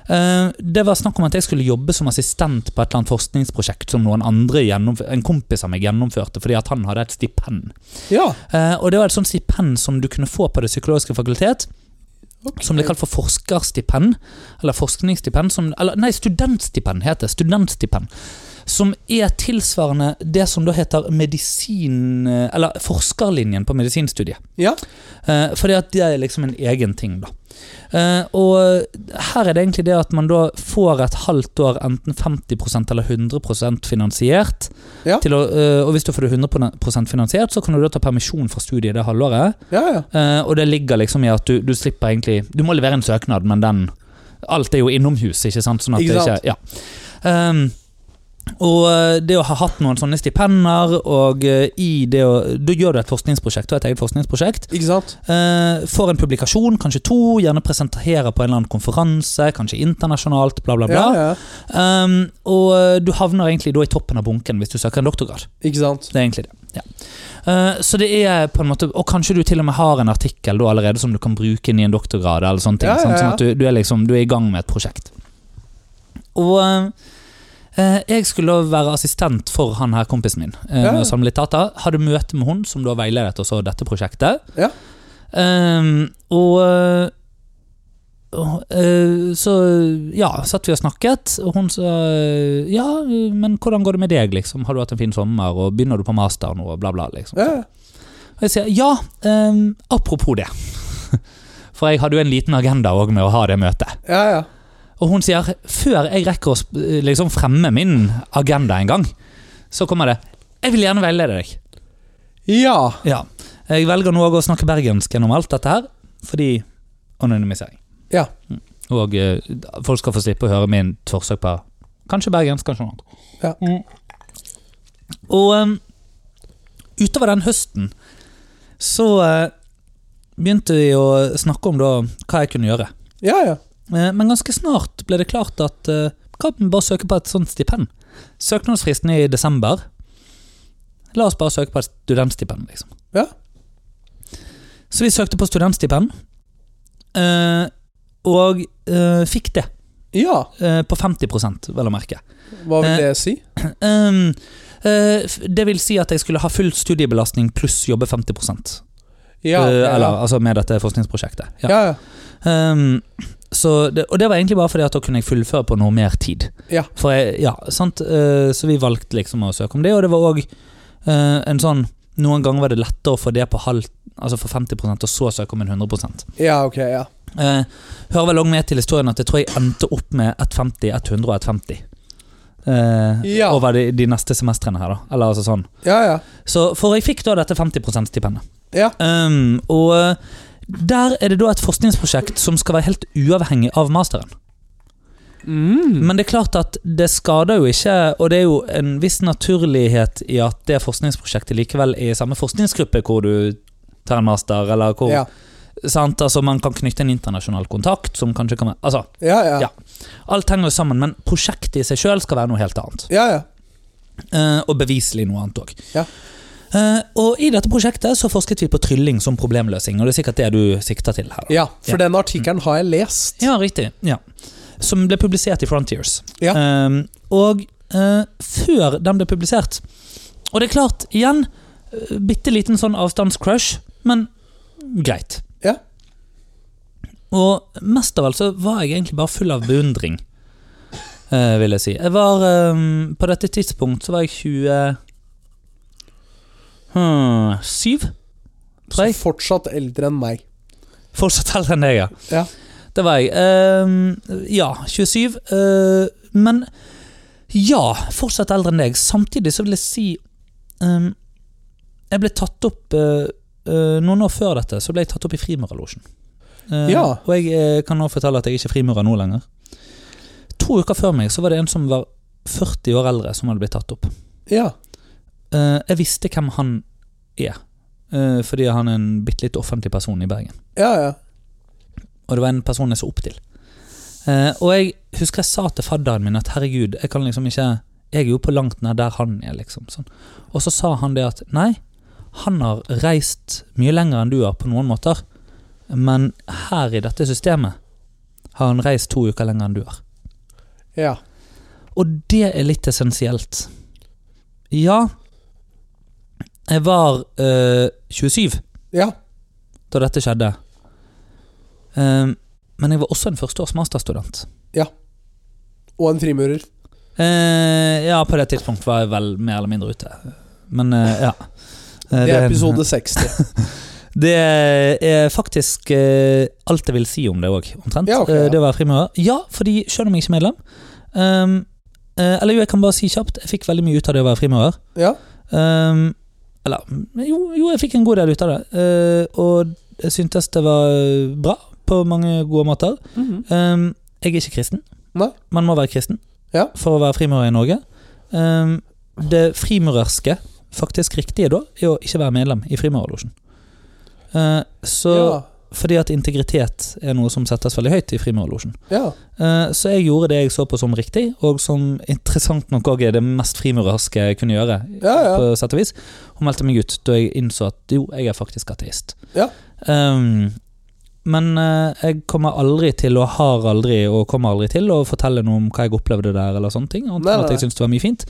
Eh, det var snakk om at jeg skulle jobbe som assistent på et eller annet forskningsprosjekt som noen andre gjennomf- en kompis av meg gjennomførte, fordi at han hadde et stipend.
ja.
Eh, og det var et sånt stipend som du kunne få på Det psykologiske fakultet. Som ble kalt for forskerstipend, eller forskningsstipend. Som, eller, nei, studentstipend heter det. Studentstipend. Som er tilsvarende det som da heter medisin... Eller forskerlinjen på medisinstudiet.
Ja.
Eh, fordi at det er liksom en egen ting, da. Eh, og her er det egentlig det at man da får et halvt år enten 50 eller 100 finansiert.
Ja.
Til å, eh, og hvis du får det 100 finansiert, så kan du da ta permisjon fra studiet det halvåret.
Ja, ja.
Eh, og det ligger liksom i at du, du slipper egentlig Du må levere en søknad, men den Alt er jo innomhus, ikke sant? Sånn at
Ikke sant?
Det ikke, ja. Ehm, og eh, det å ha hatt noen sånne stipender, og eh, i det å Da gjør du et forskningsprosjekt, og et eget forskningsprosjekt.
Ikke sant?
Eh, får en publikasjon, kanskje to, gjerne presenterer på en eller annen konferanse, kanskje internasjonalt, bla, bla, bla.
Ja, ja.
Ehm, og eh, du havner egentlig da i toppen av bunken hvis du søker en doktorgrad.
Ikke sant?
Det er egentlig det. Ja. Eh, så det er på en måte Og kanskje du til og med har en artikkel da allerede som du kan bruke inn i en doktorgrad. eller sånne ting
Ja, ja,
sant?
ja.
Sånn at du, du, er liksom, du er i gang med et prosjekt. Og eh, jeg skulle da være assistent for han her kompisen min. eh,
Ja.
med å samle litt data Hadde møte med hun, som da veiledet oss over dette prosjektet.
Ja.
Eh, og eh, så ja, satt vi og snakket, og hun sa ja, men hvordan går det med deg, liksom? Har du hatt en fin sommer, og begynner du på master nå, og bla, bla, liksom.
Ja, ja.
Og jeg sier ja, ehm, apropos det. For jeg hadde jo en liten agenda òg med å ha det møtet.
ja, ja.
Og hun sier før jeg rekker å sp- liksom fremme min agenda en gang, så kommer det 'Jeg vil gjerne veilede deg'.
ja.
Ja. Jeg velger nå også å snakke bergensk gjennom alt dette her, fordi anonymisering.
Ja.
Mm. Og eh, folk skal få slippe å høre min forsøk på kanskje bergensk, kanskje noe annet.
Ja.
Mm. Og em, utover den høsten så eh, begynte vi å snakke om da hva jeg kunne gjøre.
ja, ja.
Eh, Men ganske snart ble det klart at eh, Hva om vi bare søker på et sånt stipend? Søknadsfristen er i desember. La oss bare søke på et studentstipend, liksom.
Ja.
Så vi søkte på studentstipend, eh, og eh, fikk det.
ja.
eh, På 50 vel å merke.
Hva
Eh.
vil det si?
Um, eh, f- det vil si at jeg skulle ha full studiebelastning pluss jobbe 50
Ja,
eh,
ja.
Eller, altså med dette forskningsprosjektet. Ja.
ja, ja.
Um, så det, og det var egentlig bare fordi at da kunne jeg fullføre på noe mer tid.
Ja.
For jeg, ja, sant? Eh, så vi valgte liksom å søke om det, og det var òg en sånn Noen ganger var det lettere å få det på halv, altså for 50 og så søke om en 100
ja, ok, ja.
Eh, hører vel også med til historien at jeg tror jeg endte opp med 1,50, 100 og 1,50. Eh,
Ja.
Over de, de neste semestrene her, da. Eller altså sånn.
Ja, ja.
Så, for jeg fikk da dette 50 %-stipendet.
Ja.
Um, og eh, der er det da et forskningsprosjekt som skal være helt uavhengig av masteren.
Mm.
Men det er klart at det skader jo ikke, og det er jo en viss naturlighet i at det forskningsprosjektet likevel er i samme forskningsgruppe hvor du tar en master, eller hvor
Ja,
sant? Altså, Man kan knytte en internasjonal kontakt som kanskje kan være Altså,
ja. Ja,
Ja. alt henger jo sammen, men prosjektet i seg sjøl skal være noe helt annet.
ja. ja.
Eh, og beviselig noe annet òg.
Ja.
Eh, og i dette prosjektet så forsket vi på trylling som problemløsning, og det er sikkert det du sikter til her.
ja for
Ja.
den artikkelen har jeg lest.
Ja, riktig. Ja. Som ble publisert i Frontiers.
Ja.
Eh, og eh, før den ble publisert Og det er klart, igjen, eh, bitte liten sånn avstandscrush, men greit.
Ja.
Og mest av alt så var jeg egentlig bare full av beundring, eh, vil jeg si. Jeg var eh, På dette tidspunkt så var jeg 20 hmm, 7?
Så
Tror jeg.
fortsatt eldre enn meg.
Fortsatt eldre enn deg, ja.
Ja.
Det var jeg. Eh, ja, 27. eh, men ja, fortsatt eldre enn deg. Samtidig så vil jeg si eh, Jeg ble tatt opp eh, eh, Noen år før dette så ble jeg tatt opp i Frimurerlosjen. Eh,
Ja.
Og jeg eh, kan nå fortelle at jeg er ikke frimurer nå lenger. To uker før meg så var det en som var 40 år eldre, som hadde blitt tatt opp.
Ja.
Eh, jeg visste hvem han er, eh, fordi han er en bitte litt offentlig person i Bergen.
Ja, ja.
Og det var en person jeg så opp til. Eh, og jeg husker jeg sa til fadderen min at herregud, jeg kan liksom ikke Jeg er jo på langt nær der han er, liksom. Sånn. Og så sa han det at nei, han har reist mye lenger enn du har på noen måter, men her i dette systemet har han reist to uker lenger enn du har.
Ja.
Og det er litt essensielt. Ja, jeg var eh, 27
Ja.
da dette skjedde. Ehm, men jeg var også en førsteårs masterstudent.
Og en frimurer.
Eh, ja, på det tidspunktet var jeg vel mer eller mindre ute. Men eh, ja. Eh,
Det er
en-
episode 60.
Det er faktisk eh, alt jeg vil si om det òg, omtrent.
Ja, ok, ja.
Eh, Det å være frimurer. Ja, fordi selv om jeg ikke er medlem ehm, eh, Eller jo, jeg kan bare si kjapt, jeg fikk veldig mye ut av det å være frimurer.
Ja.
Ehm, eller jo, jo, jeg fikk en god del ut av det. Eh, og jeg syntes det var bra på mange gode måter. Ehm, jeg er ikke kristen.
Nei.
Man må være kristen
Ja.
for å være frimurer i Norge. Ehm, det frimurerske, faktisk riktige da, er å ikke være medlem i Frimurerlosjen. Eh, så
ja.
Fordi at integritet er noe som settes veldig høyt i Frimurerlosjen.
Ja.
Eh, så jeg gjorde det jeg så på som riktig, og som interessant nok òg er det mest frimurerske jeg kunne gjøre.
Ja, ja.
På sett og vis Og meldte meg ut da jeg innså at jo, jeg er faktisk ateist.
Ja.
Ehm, men eh, jeg kommer aldri til, og har aldri, og kommer aldri til å fortelle noe om hva jeg opplevde der, eller sånne ting. Annet
Nei,
enn
nei,
at
nei.
jeg syns det var mye fint.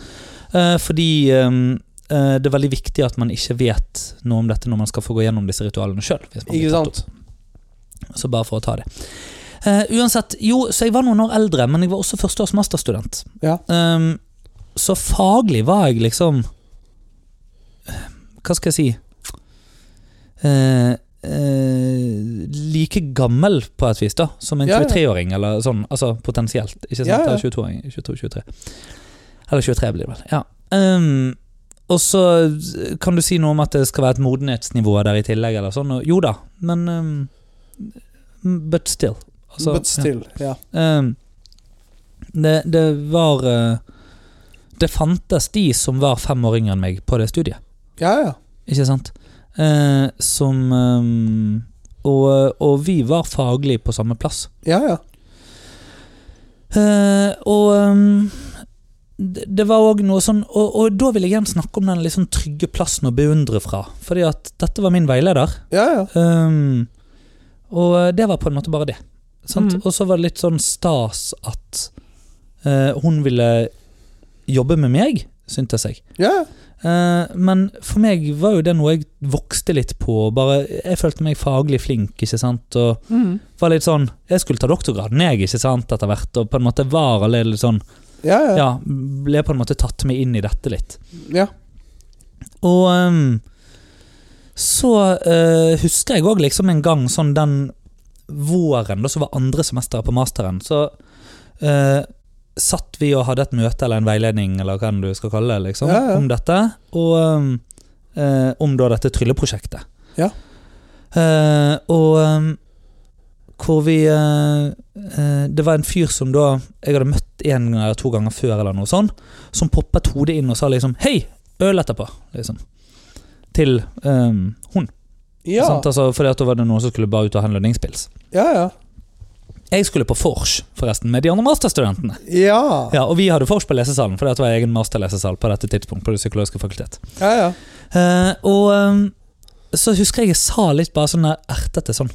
Eh, fordi ehm, eh, det er veldig viktig at man ikke vet noe om dette når man skal få gå gjennom disse ritualene sjøl.
Ikke sant?
Så bare for å ta det. Eh, uansett, jo, så jeg var noen år eldre, men jeg var også førsteårs masterstudent.
Ja.
Ehm, så faglig var jeg liksom eh, Hva skal jeg si eh, eh, Like gammel, på et vis, da som en
Ja, ja.
23-åring, eller sånn. Altså potensielt. Ikke sant?
Ja, ja.
Eller 22-åring. 22-23. Eller 23 blir det vel. Ja. Ehm, og så eh, kan du si noe om at det skal være et modenhetsnivå der i tillegg, eller sånn. Og, jo da, men ehm, But still. Altså,
But
ja.
still. Ja.
Ehm, det, det var eh, Det fantes de som var fem år yngre enn meg på det studiet,
Ja, ja.
ikke sant? Eh, som ehm, og, og vi var faglig på samme plass.
Ja, ja.
Eh, og ehm, det det var òg noe sånn og, og da vil jeg igjen snakke om den litt sånn trygge plassen å beundre fra. Fordi at dette var min veileder.
Ja, ja.
Ehm, og det var på en måte bare det. Sant?
Mhm.
Og så var det litt sånn stas at eh, hun ville jobbe med meg, syntes jeg.
ja, ja.
Eh, men for meg var jo det noe jeg vokste litt på. Bare, jeg følte meg faglig flink, ikke sant. Og var litt sånn Jeg skulle ta doktorgraden, jeg, ikke sant, etter hvert. Og på en måte var alle litt sånn
ja, ja.
Ja, ble på en måte tatt med inn i dette litt.
ja.
Og ehm, så eh, husker jeg òg liksom en gang sånn den våren, da så var andre semesteret på masteren, så eh, satt vi og hadde et møte eller en veiledning eller hva enn du skal kalle det, liksom,
Ja, ja.
om dette. Og ehm, eh, om da dette trylleprosjektet.
Ja.
Eh, og ehm, hvor vi eh, eh, Det var en fyr som da jeg hadde møtt en gang eller to ganger før, eller noe sånt, som poppet hodet inn og sa liksom 'Hei, øl etterpå', liksom. Til ehm, hun.
Ja,
Sant? Altså, fordi at da var det noen som skulle bare ut og ha en lønningspils.
ja. ja.
Jeg skulle på vors, forresten, med de andre masterstudentene.
Ja.
Ja, og vi hadde vors på lesesalen, for det var egen masterlesesal på dette tidspunkt. på det psykologiske fakultet.
ja, ja.
Eh, og ehm, så husker jeg jeg sa litt bare sånn der ertete sånn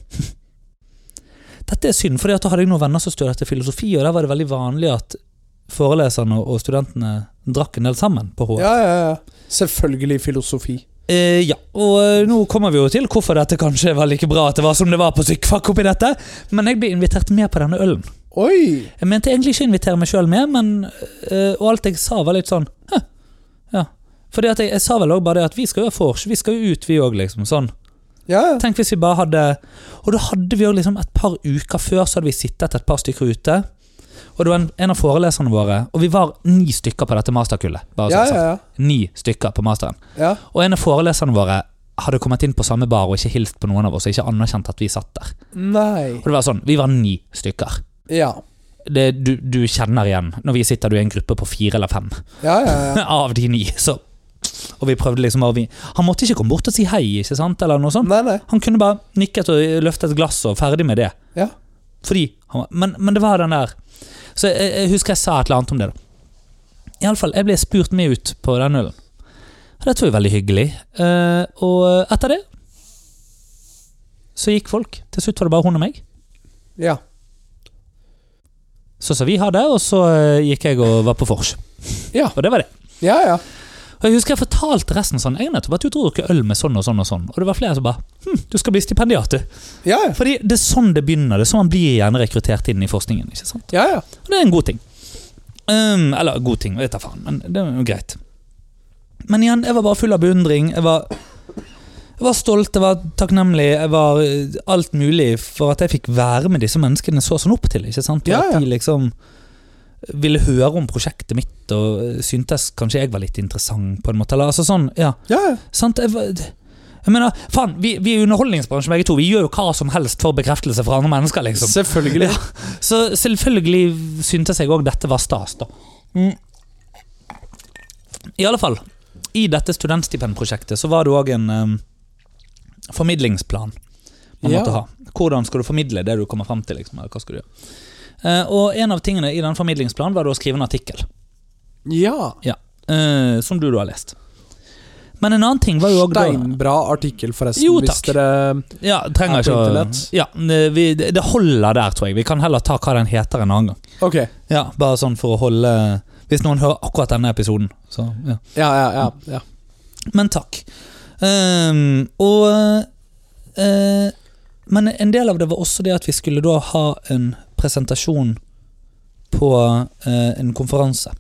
Dette er synd, for da hadde jeg noen venner som studerte filosofi, og der var det veldig vanlig at foreleserne og studentene drakk en del sammen på HR.
ja, ja, ja. Selvfølgelig filosofi.
Eh, ja, og eh, nå kommer vi jo til hvorfor dette kanskje var like bra at det var som det var på Psykfak oppi dette, men jeg ble invitert med på denne ølen.
Oi!
Jeg mente egentlig ikke å invitere meg sjøl med, men eh, Og alt jeg sa, var litt sånn «Hæ, Ja. Fordi at jeg, jeg sa vel òg bare det at vi skal jo ha vors, vi skal jo ut, vi òg, liksom. Sånn.
Ja, ja.
Tenk hvis vi bare hadde Og da hadde vi jo liksom et par uker før så hadde vi sittet et par stykker ute. Og det var en, en av foreleserne våre, og vi var ni stykker på dette masterkullet. Bare
Ja,
sånn
ja,
sagt.
ja.
Ni stykker på masteren.
ja.
Og en av foreleserne våre hadde kommet inn på samme bar og ikke hilst på noen av oss og ikke anerkjent at vi satt der.
Nei.
Og det var sånn, Vi var ni stykker.
Ja.
Det, du, du kjenner igjen når vi sitter du i en gruppe på fire eller fem
Ja, ja, ja.
av de ni. Så. Og vi prøvde liksom å vi, Han måtte ikke komme bort og si hei, ikke sant? Eller noe sånt.
Nei, nei.
Han kunne bare nikket og løftet et glass og ferdig med det.
Ja.
Fordi han var, men, men det var den der Så jeg, jeg husker jeg sa et eller annet om det. da Iallfall, jeg ble spurt med ut på den ølen. Og dette var jo veldig hyggelig. Eh, og etter det så gikk folk. Til slutt var det bare hun og meg.
Ja.
Så sa vi ha det, og så eh, gikk jeg og var på vors.
Ja.
Og det var det.
Ja, ja.
Og jeg husker jeg fortalte resten sånn. Jeg har nettopp vært ute og drukket øl med sånn og sånn og sånn. Og det var flere som bare Hm, du skal bli stipendiat, du.
Ja, ja.
Fordi det er sånn det begynner. Det er sånn man blir gjerne rekruttert inn i forskningen. ikke sant?
ja, ja.
Og det er en god ting. Ehm, eller god ting, jeg tar faen, men det er jo greit. Men igjen, jeg var bare full av beundring. Jeg var, jeg var stolt, jeg var takknemlig, jeg var eh, alt mulig for at jeg fikk være med disse menneskene jeg så sånn opp til. ikke sant? For
Ja, ja.
At de liksom ville høre om prosjektet mitt og eh, syntes kanskje jeg var litt interessant. på en måte, eller altså sånn, ja.
ja, ja.
Sant? Jeg, var- jeg mener, faen, vi, vi er i underholdningsbransjen begge to. Vi gjør jo hva som helst for bekreftelse fra andre mennesker. liksom.
Selvfølgelig.
Ja. Så selvfølgelig syntes jeg òg dette var stas, da. Mm. I alle fall, i dette studentstipendprosjektet så var det òg en eh, formidlingsplan man
Ja.
måtte ha. Hvordan skal du formidle det du kommer frem til? Liksom, eller hva skal du gjøre? Eh, og en av tingene i den formidlingsplanen var da å skrive en artikkel,
Ja.
eh, som du da har lest. Men en annen ting var jo òg
Steinbra artikkel, forresten.
Jo,
Hvis
takk.
dere
Ja, trenger
Er på
ikke å
internett.
ja, vi, Det holder der, tror jeg. Vi kan heller ta hva den heter en annen gang.
Ok.
Ja, bare sånn for å holde Hvis noen hører akkurat denne episoden. Så, ja.
Ja, ja, ja. ja.
Men takk. Ehm, og eh, Men en del av det var også det at vi skulle da ha en presentasjon på eh, en konferanse.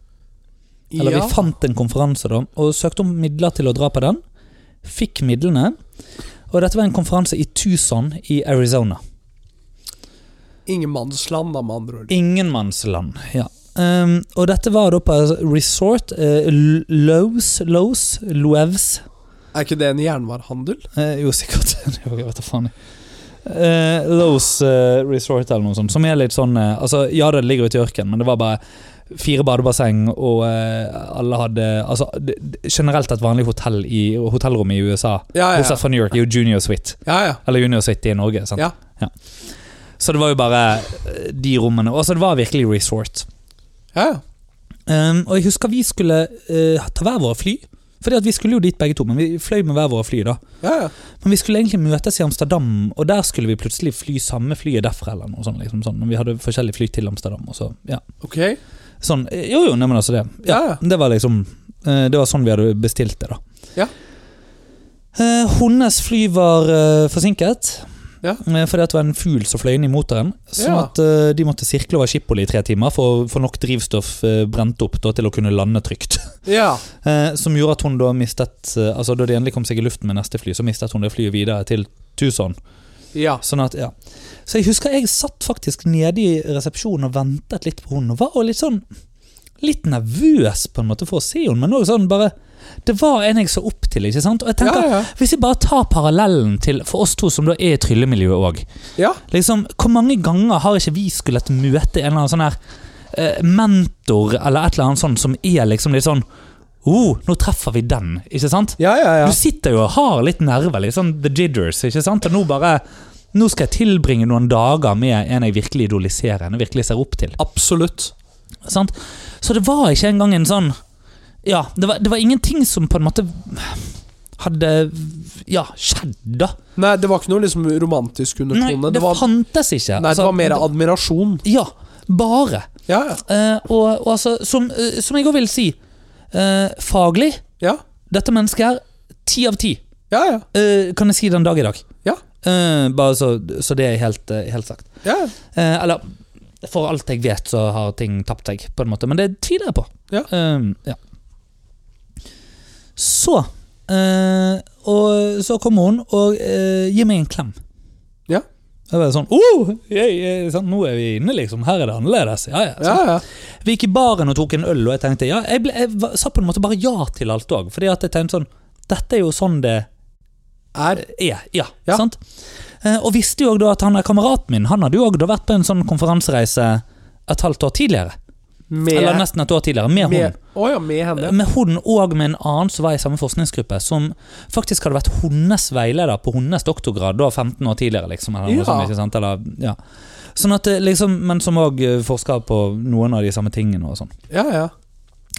Eller
ja.
vi fant en konferanse da, og søkte om midler til å dra på den. Fikk midlene. Og dette var en konferanse i Tucson i Arizona.
Ingenmannsland, da, med andre ord.
Ingenmannsland, ja. Ehm, og dette var da på resort uh, Lows, Lows, Loews
Er ikke det en jernvarehandel?
Eh, Jo, sikkert. jeg vet da faen. Uh, Lows eh, Resort eller noe sånt, som er litt sånn eh, Altså, ja, det ligger ute i ørkenen, men det var bare fire badebasseng, og eh, alle hadde Altså, det, det- generelt et vanlig hotell i hotellrom i USA,
Ah, Ja, ja.
bortsett fra New York, er jo Junior Suite.
Ja, ja.
Eller Junior City i Norge. Sant?
Ja.
Så det var jo bare eh, de rommene. Og så det var virkelig resort.
ja, ja.
Um, og jeg husker vi skulle eh, ta hver våre fly. Fordi at vi skulle jo dit begge to, men vi fløy med hver våre fly. da
ja, ja.
Men vi skulle egentlig møtes i Amsterdam, og der skulle vi plutselig fly samme flyet derfra. eller noe sånt, liksom sånn. Men vi hadde forskjellige fly til Amsterdam. Og så, ja.
Ok.
sånn, eh, jo, jo, nei, men altså det.
Ja, ja.
Det var liksom eh, Det var sånn vi hadde bestilt det, da.
Ja.
Eh, hennes fly var eh, forsinket.
Ja.
eh, Fordi at det var en fugl som fløy inn i motoren. Sånn
Ja.
at eh, de måtte sirkle over Skipoli i tre timer for å få nok drivstoff eh, brent opp da, til å kunne lande trygt.
Ja.
Eh, som gjorde at hun da mistet eh, Altså Da de endelig kom seg i luften med neste fly, så mistet hun det flyet videre til Tucson.
Ja.
Sånn at, ja. Så jeg husker jeg satt faktisk nede i resepsjonen og ventet litt på henne. Og var jo litt sånn Litt nervøs på en måte for å se henne, men også sånn bare Det var en jeg så opp til, ikke sant? Og jeg
Ja,
tenker
ja.
Hvis jeg bare tar parallellen til for oss to som da er i tryllemiljøet òg
Ja.
liksom, Hvor mange ganger har ikke vi skullet møte en eller annen sånn her eh, mentor eller et eller annet sånt som er liksom litt sånn Oh, nå treffer vi den, ikke sant?
Ja, ja, ja.
Du sitter jo og har litt nerver, litt sånn the jitters, ikke sant? Og nå bare Nå skal jeg tilbringe noen dager med en jeg virkelig idoliserer, en jeg virkelig ser opp til.
Absolutt.
Sant? Så det var ikke engang en sånn Ja, det var, det var ingenting som på en måte hadde Ja, skjedd, da.
Nei, det var ikke noe liksom romantisk
Nei,
undertone.
det altså,
det, var,
fantes ikke.
nei, det var mer
av
admirasjon.
Ja, bare.
Ja, ja.
Eh, og, og altså, som, eh, som jeg òg vil si, eh, faglig
Ja,
Dette mennesket her, ti av ti.
ja. ja.
Eh, kan jeg si den dag i dag?
Ja.
Eh, bare så, så det er helt, eh, helt sagt.
ja, ja.
Eh, eller for alt jeg vet, så har ting tapt seg, på en måte. Men det tviler jeg på.
Ja.
Eh, ja. Så eh, Og så kommer hun og eh, gir meg en klem.
Ja.
Det var sånn oh, jeg, jeg, sant? Nå er vi inne, liksom. Her er det annerledes. Ja, ja, sant?
ja, ja.
Vi gikk i baren og tok en øl, og jeg tenkte ja, jeg, ble, jeg var- sa på en måte bare ja til alt òg. Fordi at jeg tenkte sånn Dette er jo sånn det
Er
er. Ja,
Ja.
sant? Eh, og visste jo òg da at han er kameraten min. Han hadde jo òg da vært på en sånn konferansereise et halvt år tidligere.
med
Eller nesten et år tidligere, med,
med, Å ja, med henne.
hun. Med hun og med en annen som var i samme forskningsgruppe, som faktisk hadde vært hennes veileder på hennes doktorgrad da 15 år tidligere. liksom Eller, noe
Ja.
sånt, ikke sant? Eller, ja. Sånn at det liksom, Men som òg forsker på noen av de samme tingene. og sånn
Ja, ja.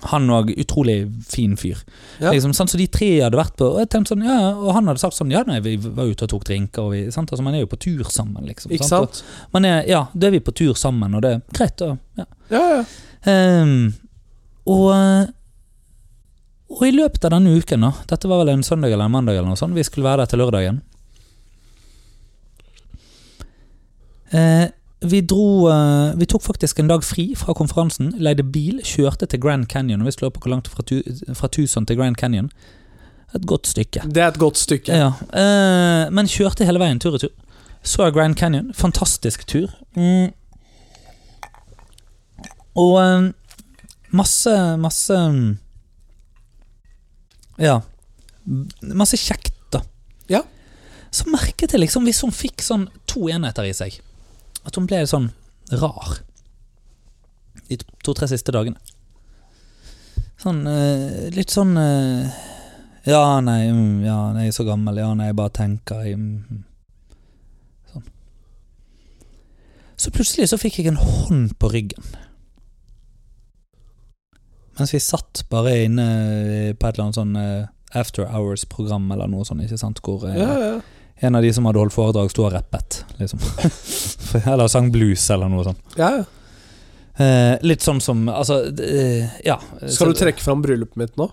Han òg utrolig fin fyr.
Ja.
Liksom, sant? Så de tre jeg hadde vært på, og jeg tenkte sånn, ja, ja, og han hadde sagt sånn Ja, nei, vi var ute og tok drinker, og vi sant? Altså, Man er jo på tur sammen, liksom.
Ikke sant?
Og Man er, ja, da er vi på tur sammen, og det er greit. da, ja.
Ja, ja.
Ehm, og Og i løpet av denne uken, da dette var vel en søndag eller en mandag, eller noe sånt, vi skulle være der til lørdagen Eh, Vi dro eh, Vi tok faktisk en dag fri fra konferansen, leide bil, kjørte til Grand Canyon. Og vi slår på hvor langt fra, tu, fra Tucson til Grand Canyon. Et godt stykke.
Det er et godt stykke.
Ja, eh, men kjørte hele veien tur i tur. Så Grand Canyon. Fantastisk tur. Mm. Og eh, masse, masse mm, Ja. Masse kjekt, da.
Ja.
Så merket jeg liksom, hvis hun fikk sånn to enheter i seg, at hun ble sånn rar de to- to-tre siste dagene. Sånn eh, Litt sånn eh, ja, nei, mm, ja, nei, jeg er så gammel. Ja, nei, jeg bare tenker. Jeg, mm, mm. sånn. Så plutselig så fikk jeg en hånd på ryggen. Mens vi satt bare inne på et eller annet sånn eh, After Hours-program eller noe sånt, ikke sant? Hvor eh,
Ja, ja.
en av de som hadde holdt foredrag, sto og rappet, liksom. eller sang blues eller noe sånt.
ja. ja.
Eh, litt sånn som Altså, eh, ja.
Skal
Så-
du trekke fram bryllupet mitt nå?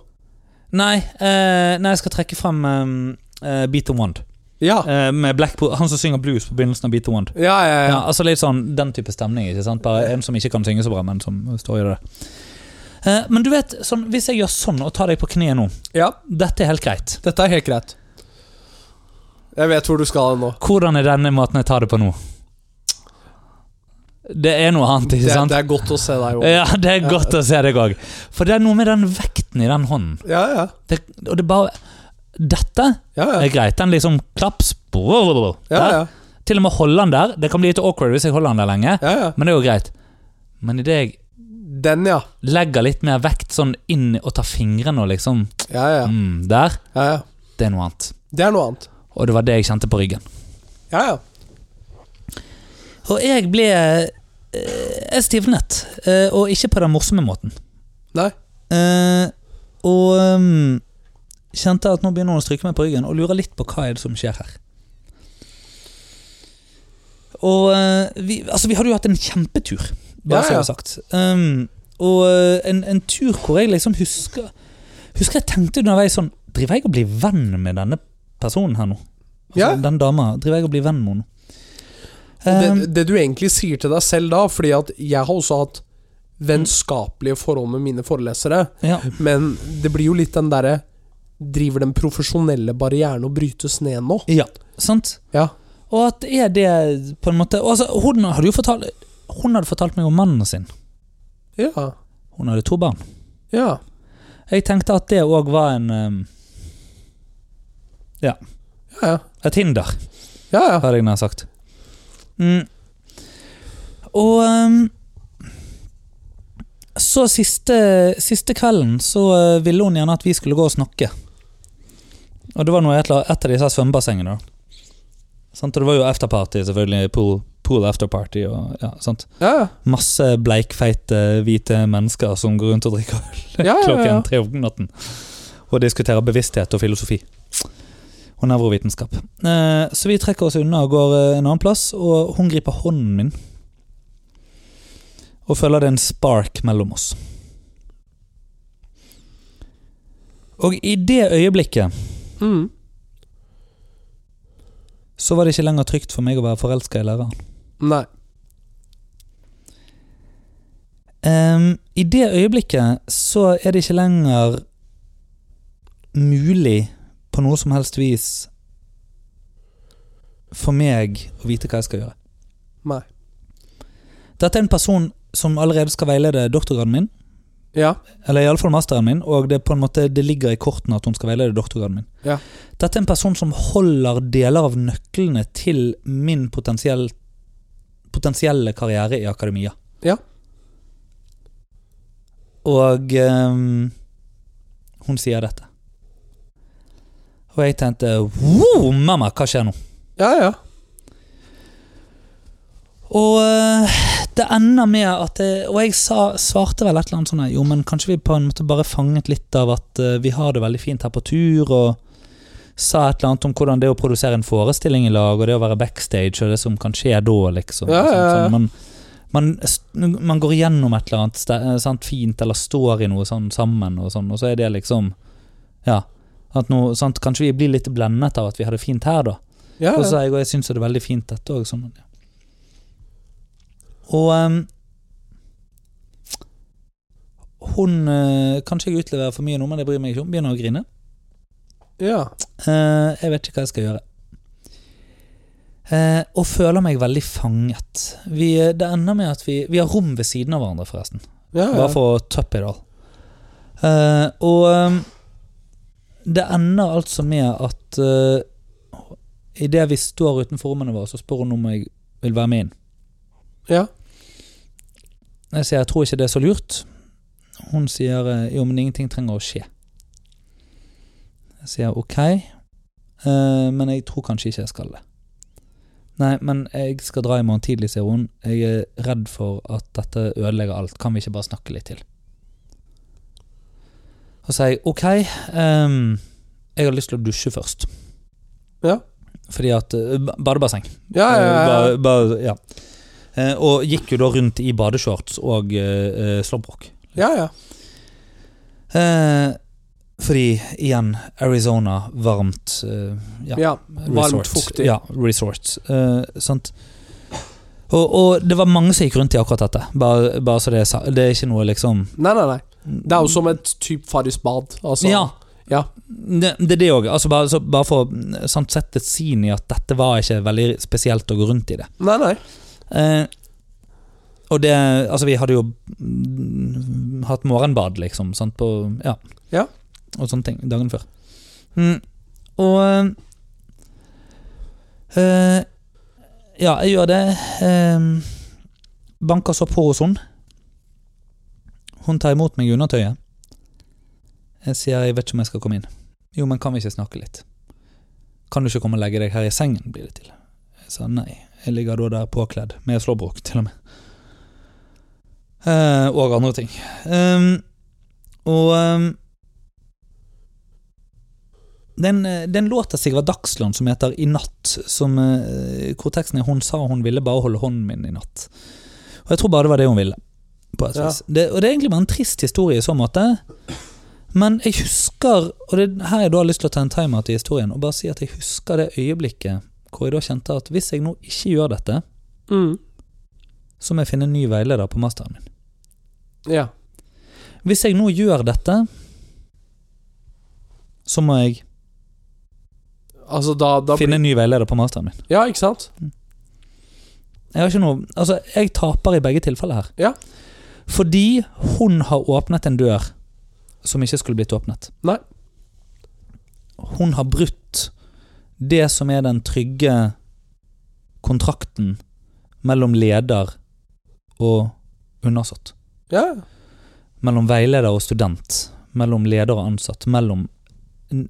Nei, eh, nei, jeg skal trekke frem eh, eh, Beat the Wand.
Ja.
Eh, med Black Bo- han som synger blues på begynnelsen av Beat the Wand.
Ja, Ah. ja,
Ja,
ja.
altså litt sånn den type stemning. Ikke sant? Bare en som ikke kan synge så bra, men som står i det. Eh, men du vet, sånn, hvis jeg gjør sånn og tar deg på kneet nå
ja.
Dette er helt greit.
Dette er helt greit. Jeg vet hvor du skal nå.
Hvordan er denne måten jeg tar det på nå? Det er noe annet,
Det,
ikke sant?
det er godt å se deg òg.
Ja, det er godt å se deg òg. For det er noe med den vekten i den hånden.
Ja, ja.
Det, og det er bare Dette
Ja,
er
ja.
greit. Den liksom klaps
ja,
Der.
ja.
Til og med holde den der. Det kan bli litt awkward hvis jeg holder den der lenge.
ja, ja.
Men det er jo greit. Men idet jeg
Den, ja.
legger litt mer vekt sånn inn og tar fingrene og liksom
Ja, ja.
mm, Der,
ja, ja.
det er noe annet.
Det er noe annet.
Og det var det jeg kjente på ryggen.
Ja, ja.
Og jeg ble eh, Jeg stivnet. eh, Og ikke på den morsomme måten.
Nei.
Eh, Og mm, kjente at nå begynner hun å stryke meg på ryggen, og lurer litt på hva er det som skjer her. Og eh, vi, altså, vi hadde jo hatt en kjempetur,
Ja,
bare så jeg
ja.
har sagt. Um, og eh, en, en tur hvor jeg liksom husker Husker jeg tenkte underveis sånn Driver jeg og blir venn med denne personen her nå? Altså,
Ja.
Den dama. Driver jeg og blir venn med henne? Um,
Det, det du egentlig sier til deg selv da, fordi at jeg har også hatt vennskapelige forhold med mine forelesere,
ja.
men det blir jo litt den derre Driver den profesjonelle barrieren og brytes ned nå?
ja. Sant?
Ja.
Og at er det på en måte og altså, hun, hadde jo fortalt, hun hadde fortalt meg om mannen sin.
Ja.
Hun hadde to barn.
Ja.
Jeg tenkte at det òg var en um,
Ja, ja.
et hinder,
ja, ja.
hadde jeg nær sagt. Mm. Og um, så siste, siste kvelden så uh, ville hun gjerne at vi skulle gå og snakke. Og det var noe i et, la- et av disse svømmebassengene. da. Sant? Og det var jo afterparty, selvfølgelig. Pool, pool afterparty og ja, sant.
ja, ja.
Masse bleikfeite hvite mennesker som går rundt og drikker øl
Ja, Ah, ja, ja.
klokken tre om natten. Og diskuterer bevissthet og filosofi. Og nevrovitenskap. Eh, Så vi trekker oss unna og går eh, en annen plass, og hun griper hånden min. Og føler det er en spark mellom oss. Og i det øyeblikket
Mm.
så var det ikke lenger trygt for meg å være forelska i læreren.
Nei.
Ehm, I det øyeblikket så er det ikke lenger mulig på noe som helst vis for meg å vite hva jeg skal gjøre.
Nei.
Dette er en person som allerede skal veilede doktorgraden min,
Ja.
eller iallfall masteren min, og det, er på en måte, det ligger i kortene at hun skal veilede doktorgraden min.
Ja.
Dette er en person som holder deler av nøklene til min potensiell, potensielle karriere i akademia.
Ja.
Og ehm, hun sier dette. Og jeg tenkte wow, mamma, hva skjer nå?
Ja, ja.
Og eh, det ender med at jeg, Og jeg sa, svarte vel et eller annet sånn her, Jo, men kanskje vi på en måte bare fanget litt av at eh, vi har det veldig fint her på tur, og sa et eller annet om hvordan det å produsere en forestilling i lag, og det å være backstage, og det som kan skje da, liksom.
Ja, ja, ja.
Sånn, man, man, s- man går gjennom et eller annet ste- eh, sant, fint, eller står i noe sånn sammen, og sånn, og så er det liksom Ja. At nå, sant, kanskje vi blir litt blendet av at vi har det fint her, da.
Ja,
Og så
ja.
sa jeg, og jeg syns det er veldig fint dette òg. Sånn, ja. Og ehm, hun eh, Kanskje jeg utleverer for mye nå, men det bryr meg ikke om. Begynner å grine.
ja.
Eh, jeg vet ikke hva jeg skal gjøre. Eh, og føler meg veldig fanget. Vi, eh, det ender med at vi Vi har rom ved siden av hverandre, forresten.
ja, ja.
Bare for å toppe it all. Eh, og eh, det ender altså med at uh, idet vi står utenfor rommene våre, så spør hun om jeg vil være med inn.
ja.
Jeg sier jeg tror ikke det er så lurt. Hun sier eh, jo, men ingenting trenger å skje. Jeg sier ok, eh, men jeg tror kanskje ikke jeg skal det. Nei, men jeg skal dra i morgen tidlig, sier hun. Jeg er redd for at dette ødelegger alt. Kan vi ikke bare snakke litt til? Og sier jeg ok, ehm, jeg har lyst til å dusje først.
Ja.
Fordi at eh, ba- Badebasseng.
Ja, ja, ja, ja.
Eh, ba- ba- ja. Eh, Og gikk jo da rundt i badeshorts og uh, slåbrok.
ja, ja.
Eh, fordi, igjen, Arizona, varmt eh, Ja.
ja. Varmt,
resort.
fuktig.
Ja, resort. Eh, sant? Og, og det var mange som gikk rundt i akkurat dette. Bare, bare så det er sa- Det er ikke noe liksom
Nei, nei, nei. Det er jo som et typ Farris bad. Altså.
Ja.
Ja.
Det, det er det òg. Altså bare, så bare for å sant, sette et sin i at dette var ikke veldig spesielt å gå rundt i det.
Nei, nei.
Eh, og det Altså, vi hadde jo mm, hatt morgenbad, liksom, sant, på Ja.
Ja.
Og sånne ting dagen før. Mm, og eh, Ja, jeg gjør det. Eh, banker så på hos hun. Hun tar imot meg i undertøyet. Jeg sier 'jeg vet ikke om jeg skal komme inn'. Jo, men kan vi ikke snakke litt? Kan du ikke komme og legge deg her i sengen, blir det til. Jeg sa nei. Jeg ligger da der påkledd, med slåbrok til og med. Eh, og andre ting. Ehm, og ehm, den, eh, den låta Sigvard Dagsland som heter 'I natt', som, eh, hvor teksten er 'Hun sa hun ville bare holde hånden min i natt'. Og jeg tror bare det var det hun ville. På et
Ja.
vis. Det, og det er egentlig bare en trist historie i så måte. Men jeg husker, og det er her jeg da har lyst til å ta en timeout i historien, og bare si at jeg husker det øyeblikket hvor jeg da kjente at hvis jeg nå ikke gjør dette,
Mm.
så må jeg finne en ny veileder på masteren min.
Ja.
Hvis jeg nå gjør dette, så må jeg
Altså, da, da
finne en ny veileder på masteren min.
Ja, ikke sant?
Jeg har ikke noe Altså, jeg taper i begge tilfeller her.
Ja.
Fordi hun har åpnet en dør som ikke skulle blitt åpnet.
Nei.
Hun har brutt det som er den trygge kontrakten mellom leder og undersått.
Ja.
mellom veileder og student, mellom leder og ansatt, mellom eh,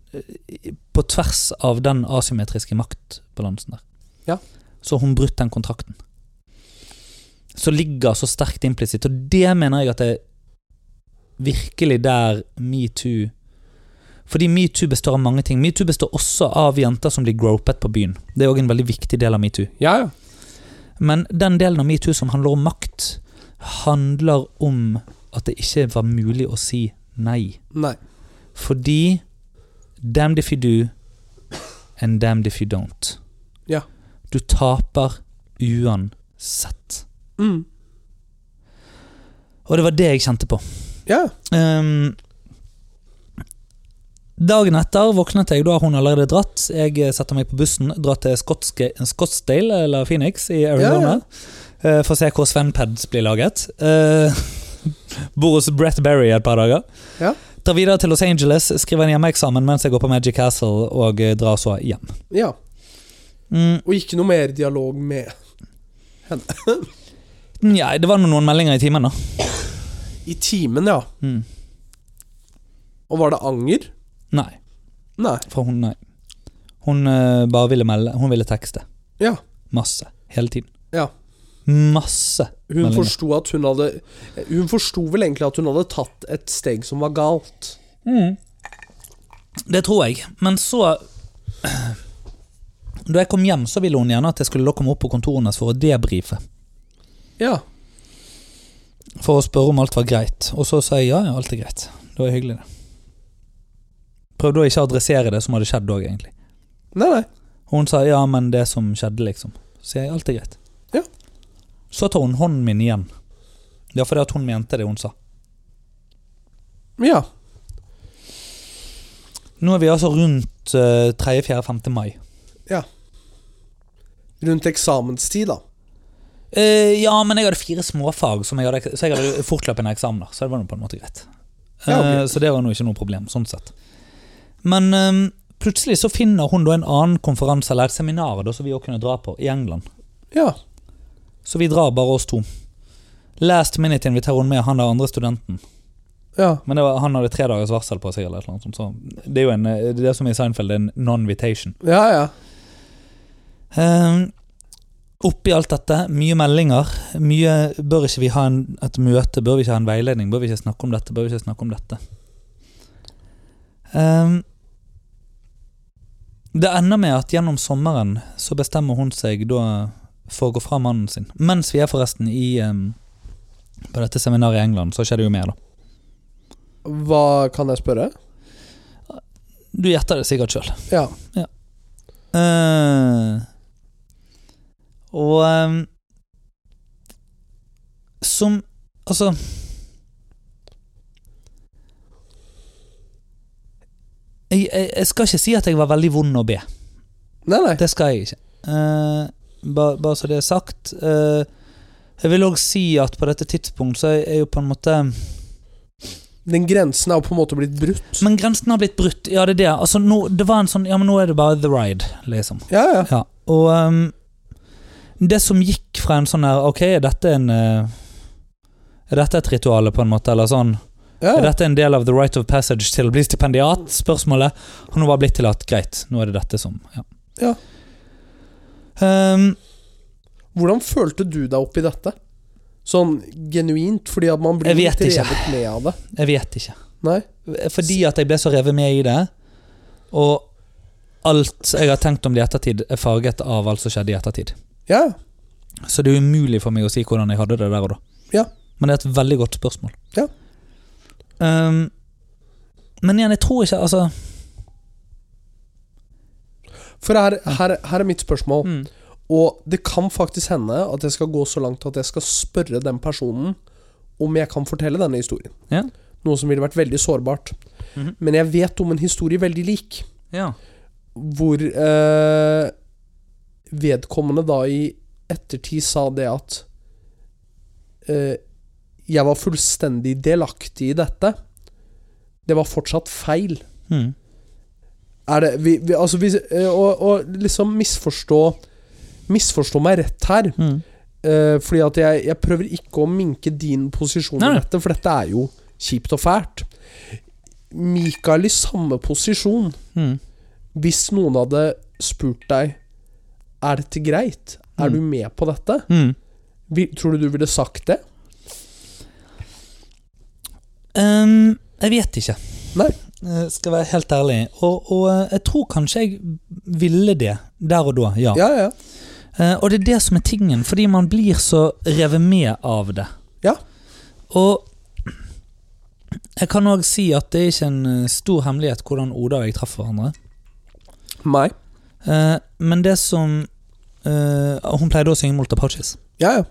På tvers av den asymmetriske maktbalansen der.
Ja.
Så har hun brutt den kontrakten. Som ligger så sterkt implisitt. Og det mener jeg at det er virkelig der metoo fordi metoo består av mange ting. Metoo består også av jenter som blir gropet på byen. Det er òg en veldig viktig del av metoo.
Ja, ja.
Men den delen av metoo som handler om makt, handler om at det ikke var mulig å si nei.
Nei.
Fordi damned if you do and damned if you don't.
Ja.
Du taper uansett.
Mm.
Og det var det jeg kjente på.
Ja.
Ehm, dagen etter våknet jeg, da har hun allerede dratt. Jeg eh, setter meg på bussen, drar til Skotske, Scottsdale eller Phoenix i Arizona. eh, For å se hvor Svenpads blir laget. Eh, Bor hos Brett Berry et par dager.
Ja.
Drar videre til Los Angeles, skriver en hjemmeeksamen mens jeg går på Magic Castle og eh, drar så hjem.
ja.
Mm,
Og ikke noe mer dialog med
Nja, det var nå noen meldinger i timen, da.
I timen, ja.
Mm.
Og var det anger?
Nei,
Nei.
fra hun, eh, nei. Hun eh, bare ville melde. Hun ville tekste.
Ja.
Masse. Hele tiden.
Ja.
Masse.
Hun
meldinger.
forsto at hun hadde Hun forsto vel egentlig at hun hadde tatt et steg som var galt.
Det tror jeg. Men så Da jeg kom hjem, så ville hun gjerne at jeg skulle da komme opp på kontoret hennes for å debrife.
Ja.
For å spørre om alt var greit. Og så sa jeg ja, ja, alt er greit. Det var hyggelig, det. Prøvde å ikke adressere det som hadde skjedd òg, egentlig.
Nei, nei.
Og hun sa ja, men det som skjedde, liksom. Så sier jeg alt er greit.
Ja.
Så tar hun hånden min igjen. Ja, fordi at hun mente det hun sa.
Ja.
Nå er vi altså rundt eh, 3., 4., 5. mai.
ja. Rundt eksamenstid, da.
Eh, ja, men jeg hadde fire småfag, som jeg hadde, så jeg hadde fortløpende eksamener. Så det var nå på en måte greit.
Ja, ok.
Eh, så det var nå ikke noe problem, sånn sett. Men eh, plutselig så finner hun da en annen konferanse eller et seminar da, som vi også kunne dra på, i England.
Ja.
Så vi drar bare oss to. Last minute inviterer hun med han der andre studenten.
Ja.
Men det var, han hadde tre dagers varsel på seg. eller et eller annet sånt, så Det er jo en, eh, det er som i Seinfeld, en non-vitation.
Ja, ja.
Eh, oppi alt dette, mye meldinger. Mye Bør ikke vi ha en, et møte? Bør vi ikke ha en veiledning? Bør vi ikke snakke om dette? Bør vi ikke snakke om dette? Eh, det ender med at gjennom sommeren så bestemmer hun seg da for å gå fra mannen sin. Mens vi er forresten i eh, på dette seminaret i England, så skjer det jo mer, da.
Hva kan jeg spørre?
Du gjetter det sikkert sjøl.
Ja.
Eh, og eh, Som Altså jeg, jeg, jeg skal ikke si at jeg var veldig vond å be.
Nei, nei.
Det skal jeg ikke. Eh, ba- Bare så det er sagt. Eh, jeg vil òg si at på dette tidspunkt så er jeg jo på en måte
Den grensen er jo på en måte blitt brutt.
Men grensen har blitt brutt. Ja, det er det. Altså, nå, det var en sånn Ja, men nå er det bare the ride, liksom.
Ja, ja.
Ja, og ehm, det som gikk fra en sånn her Ok, er dette en eh, Er dette et rituale, på en måte, eller sånn?
ja.
Er dette en del av the right of passage til å bli stipendiat? Spørsmålet har nå bare blitt til at greit, nå er det dette som Ja.
Ja.
Ehm,
Hvordan følte du deg oppi dette? Sånn genuint, fordi at man blir
Jeg vet
litt
ikke.
revet med av det.
jeg vet ikke.
Nei?
Fordi at jeg ble så revet med i det, og alt jeg har tenkt om det i ettertid, er farget av alt som skjedde i ettertid.
Ja,
Så det er umulig for meg å si hvordan jeg hadde det der og da.
Ja.
Men det er et veldig godt spørsmål.
Ja.
Ehm, men igjen, jeg tror ikke Altså
for her, her, her er mitt spørsmål.
mm,
Og det kan faktisk hende at jeg skal gå så langt at jeg skal spørre den personen om jeg kan fortelle denne historien.
Ja.
Noe som ville vært veldig sårbart.
Mhm.
Men jeg vet om en historie veldig lik,
ja.
hvor eh, vedkommende da i ettertid sa det at eh, Jeg var fullstendig delaktig i dette. Det var fortsatt feil.
Mm,
er det vi, vi, altså vi, eh, og, og liksom misforstå Misforstå meg rett her.
mm.
eh, fordi at jeg, jeg prøver ikke å minke din posisjon
Nei,
i
nei.
dette, for dette er jo kjipt og fælt. Mikael i samme posisjon.
Mm.
Hvis noen hadde spurt deg Er dette greit, er
Mm.
du med på dette,
Mm.
vi, tror du du ville sagt det?
Ehm, jeg vet ikke.
Nei.
Eh, skal være helt ærlig. Og, og eh, jeg tror kanskje jeg ville det der og da, ja.
Ja, ja.
Eh, og det er det som er tingen, fordi man blir så revet med av det.
Ja.
Og jeg kan òg si at det er ikke en eh, stor hemmelighet hvordan Oda og jeg traff hverandre.
Meg?
Eh, men det som eh, Hun pleide å synge Molta Pouches.
Ja, ja.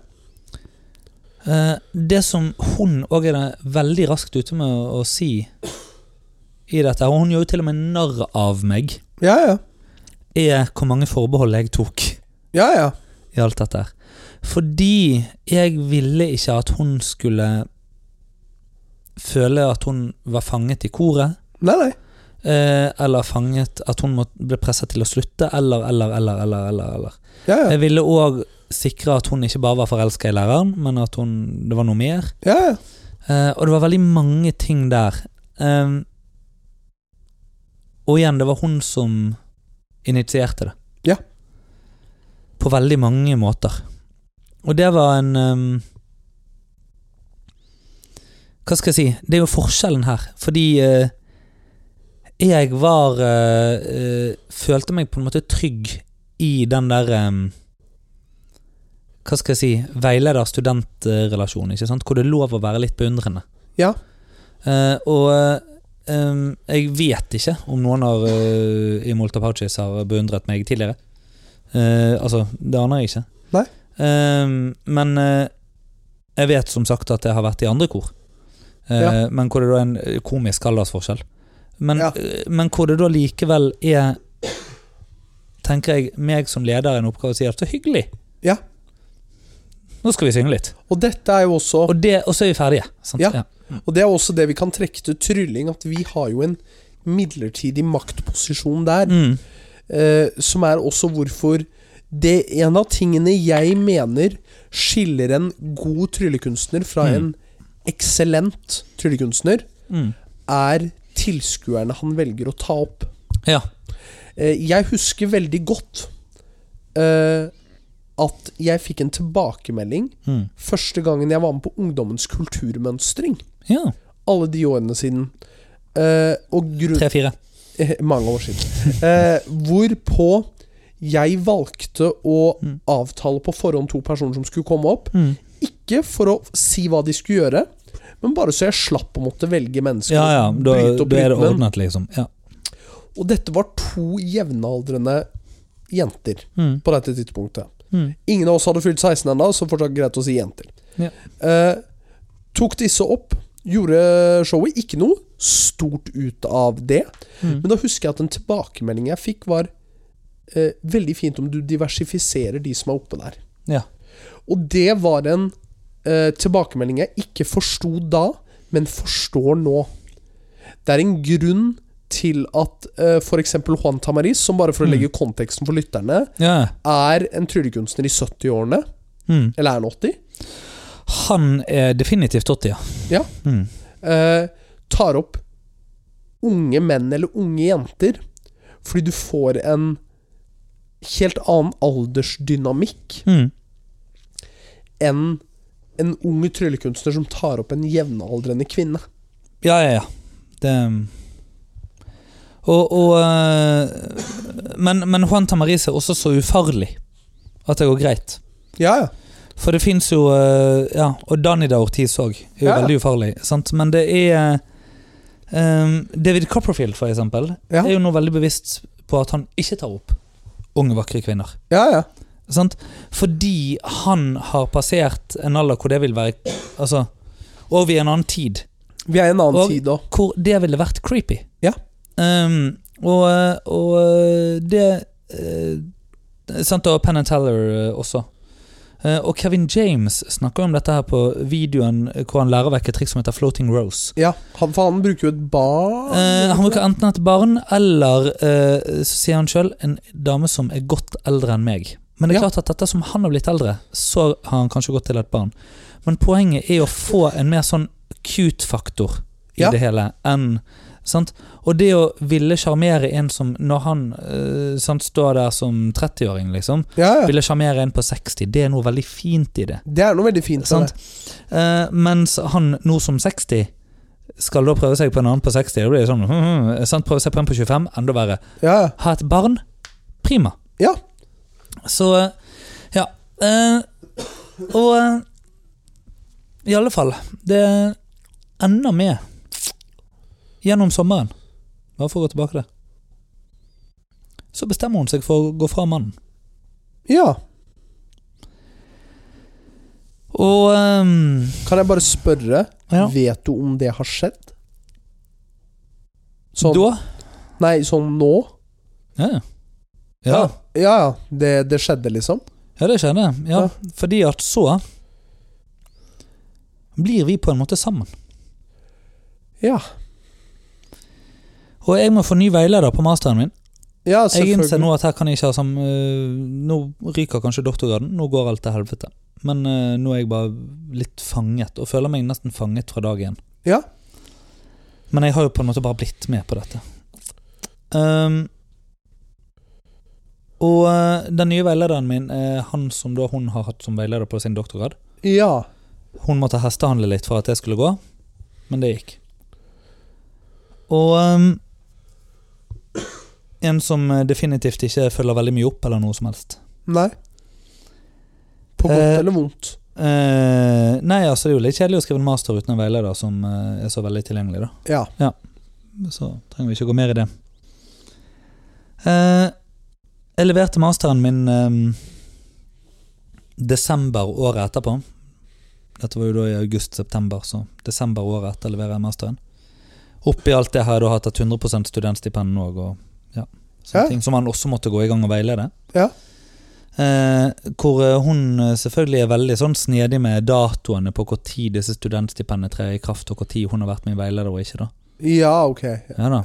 Eh, det som hun òg er det veldig raskt ute med å, å si i dette, og hun gjør jo til og med narr av meg,
Ja, ja.
er hvor mange forbehold jeg tok
Ja, ja.
i alt dette her. Fordi jeg ville ikke at hun skulle føle at hun var fanget i koret.
Nei, nei.
Eh, eller fanget At hun må- ble presset til å slutte, eller, eller, eller, eller. eller, eller.
Ja, ja.
Jeg ville òg sikre at hun ikke bare var forelska i læreren, men at hun, det var noe mer.
ja, ja.
Eh, og det var veldig mange ting der. Eh, og igjen, det var hun som initierte det.
Ja.
På veldig mange måter. Og det var en ehm, Hva skal jeg si? Det er jo forskjellen her. Fordi eh, jeg var eh, eh, Følte meg på en måte trygg i den der ehm, Hva skal jeg si veileder-student-relasjonen, ikke sant? Hvor det er lov å være litt beundrende.
Ja.
Eh, og ehm, jeg vet ikke om noen av eh, i Molta Pouches har beundret meg tidligere. Eh, altså, det aner jeg ikke.
Nei.
Ehm, men eh, jeg vet som sagt at jeg har vært i andre kor. Eh,
Ja.
Men hvor det da er en eh, komisk aldersforskjell. Men,
Ja.
eh, men hvor det da likevel er Tenker jeg meg som leder er en oppgave å si at så hyggelig.
Ja.
Nå skal vi synge litt.
Og dette er jo også
Og, det, og så er vi ferdige. Sant?
Ja. Og det er også det vi kan trekke til trylling, at vi har jo en midlertidig maktposisjon der,
Mm.
eh, som er også hvorfor det en av tingene jeg mener skiller en god tryllekunstner fra
Mm.
en eksellent tryllekunstner,
Mm.
er tilskuerne han velger å ta opp.
Ja.
Eh, jeg husker veldig godt eh, at jeg fikk en tilbakemelding
Mm.
første gangen jeg var med på Ungdommens kulturmønstring.
ja.
alle de årene siden. Eh, og grunn...
Tre-fire.
Mange år siden. Eh, hvorpå jeg valgte å
Mm.
avtale på forhånd to personer som skulle komme opp.
Mm.
Ikke for å si hva de skulle gjøre, men bare så jeg slapp å måtte velge mennesker.
Ja, ja.
og
Da,
bryte opp
da er det
rytmen.
ordnet, liksom. Ja.
Og dette var to jevnaldrende jenter
Mm.
på dette tidspunktet.
Mm.
Ingen av oss hadde fylt 16 ennå, så fortsatt greit å si jenter.
Ja.
Eh, tok disse opp, gjorde showet ikke noe stort ut av det. Men
Mm.
da husker jeg at en tilbakemelding jeg fikk, var eh, veldig fint om du diversifiserer de som er oppe der.
Ja.
Og det var en eh, tilbakemelding jeg ikke forsto da, men forstår nå. Det er en grunn til at eh, f.eks. Juan Tamariz, som bare for å
Mm.
legge konteksten for lytterne,
ja.
er en tryllekunstner i 70-årene,
Mm.
eller er han 80?
Han er definitivt 80, ja.
Ja.
Mm.
eh, tar opp unge menn eller unge jenter, fordi du får en helt annen aldersdynamikk
Mm.
enn en ung tryllekunstner som tar opp en jevnaldrende kvinne.
Ja, ja, ja. Det Og, og eh, men, men Juan Tamariz er også så ufarlig at det går greit.
Ja, ja.
For det fins jo eh, Ja, og Danida Ortiz òg er jo
Ja, ja.
veldig ufarlig, sant? men det er eh, David Copperfield, for eksempel,
Ja.
er jo nå veldig bevisst på at han ikke tar opp unge, vakre kvinner.
Ja, ja.
Sant? Fordi han har passert en alder hvor det vil være Altså Over i en annen tid.
Vi er i en annen
Og-
tid òg.
Hvor det ville vært creepy.
Ja.
Ehm, og, og det uh, Sant, og Penn and Teller eh, også. Eh, og Kevin James snakker jo om dette her på videoen eh, hvor han lærer vekk et triks som heter Floating Rose.
Ja, han, for han bruker jo et barn
Eh, han bruker enten et barn eller, eh, så sier han sjøl, en dame som er godt eldre enn meg. Men det er
Ja.
klart at etter som han har blitt eldre, så har han kanskje gått til et barn. Men poenget er å få en mer sånn cute-faktor i
Ja.
det hele enn sant? Og det å ville sjarmere en som, når han eh, sant, står der som 30-åring, liksom,
Ja, ja.
ville sjarmere en på 60, det er noe veldig fint i det.
Det er noe veldig fint. med
Sant? Eh, mens han nå som 60 skal da prøve seg på en annen på 60. Det blir jo sånn, hmm, sant? Prøve seg på en på 25, enda verre.
det. Ja, ja.
Ha et barn, prima.
Ja.
Så eh, ja. eh, og eh, i alle fall, det ender med gjennom sommeren Bare for å gå tilbake til det. Så bestemmer hun seg for å gå fra mannen.
ja.
Og ehm,
Kan jeg bare spørre,
Ja.
vet du om det har skjedd? Sånn,
da
Nei, sånn nå?
Ja, ja. ja.
Ja, ja. Det, det skjedde, liksom?
Ja, det skjedde. Ja,
Ja.
Fordi at så blir vi på en måte sammen.
Ja.
Og jeg må få ny veileder på masteren min.
Ja,
Jeg innser
selvfølgelig.
nå at her kan jeg ikke ha sam... øh, Nå ryker kanskje doktorgraden. Nå går alt til helvete. Men øh, nå er jeg bare litt fanget, og føler meg nesten fanget fra dag én.
Ja.
Men jeg har jo på en måte bare blitt med på dette. Ehm, Og eh, den nye veilederen min, eh, han som da hun har hatt som veileder på sin doktorgrad,
Ja.
hun måtte hestehandle litt for at jeg skulle gå, men det gikk. Og ehm, en som eh, definitivt ikke følger veldig mye opp eller noe som helst.
Nei. På godt
Eh.
eller vondt.
Eh, nei, altså det er jo litt kjedelig å skrive en master uten en veileder som eh, er så veldig tilgjengelig, da.
Ja.
Så trenger vi ikke gå mer i det. Eh, jeg leverte masteren min ehm, desember året etterpå. Dette var jo da i august-september, så desember året etter leverer jeg masteren. Oppi alt det her har jeg da hatt et 100 studentstipend òg, og ja, sånne
Ja.
ting som han også måtte gå i gang og veilede.
Ja.
Eh, hvor eh, hun eh, selvfølgelig er veldig sånn snedig med datoene på når disse studentstipendene trer i kraft, og når hun har vært min veileder og ikke. da.
Ja, ok.
Ja da.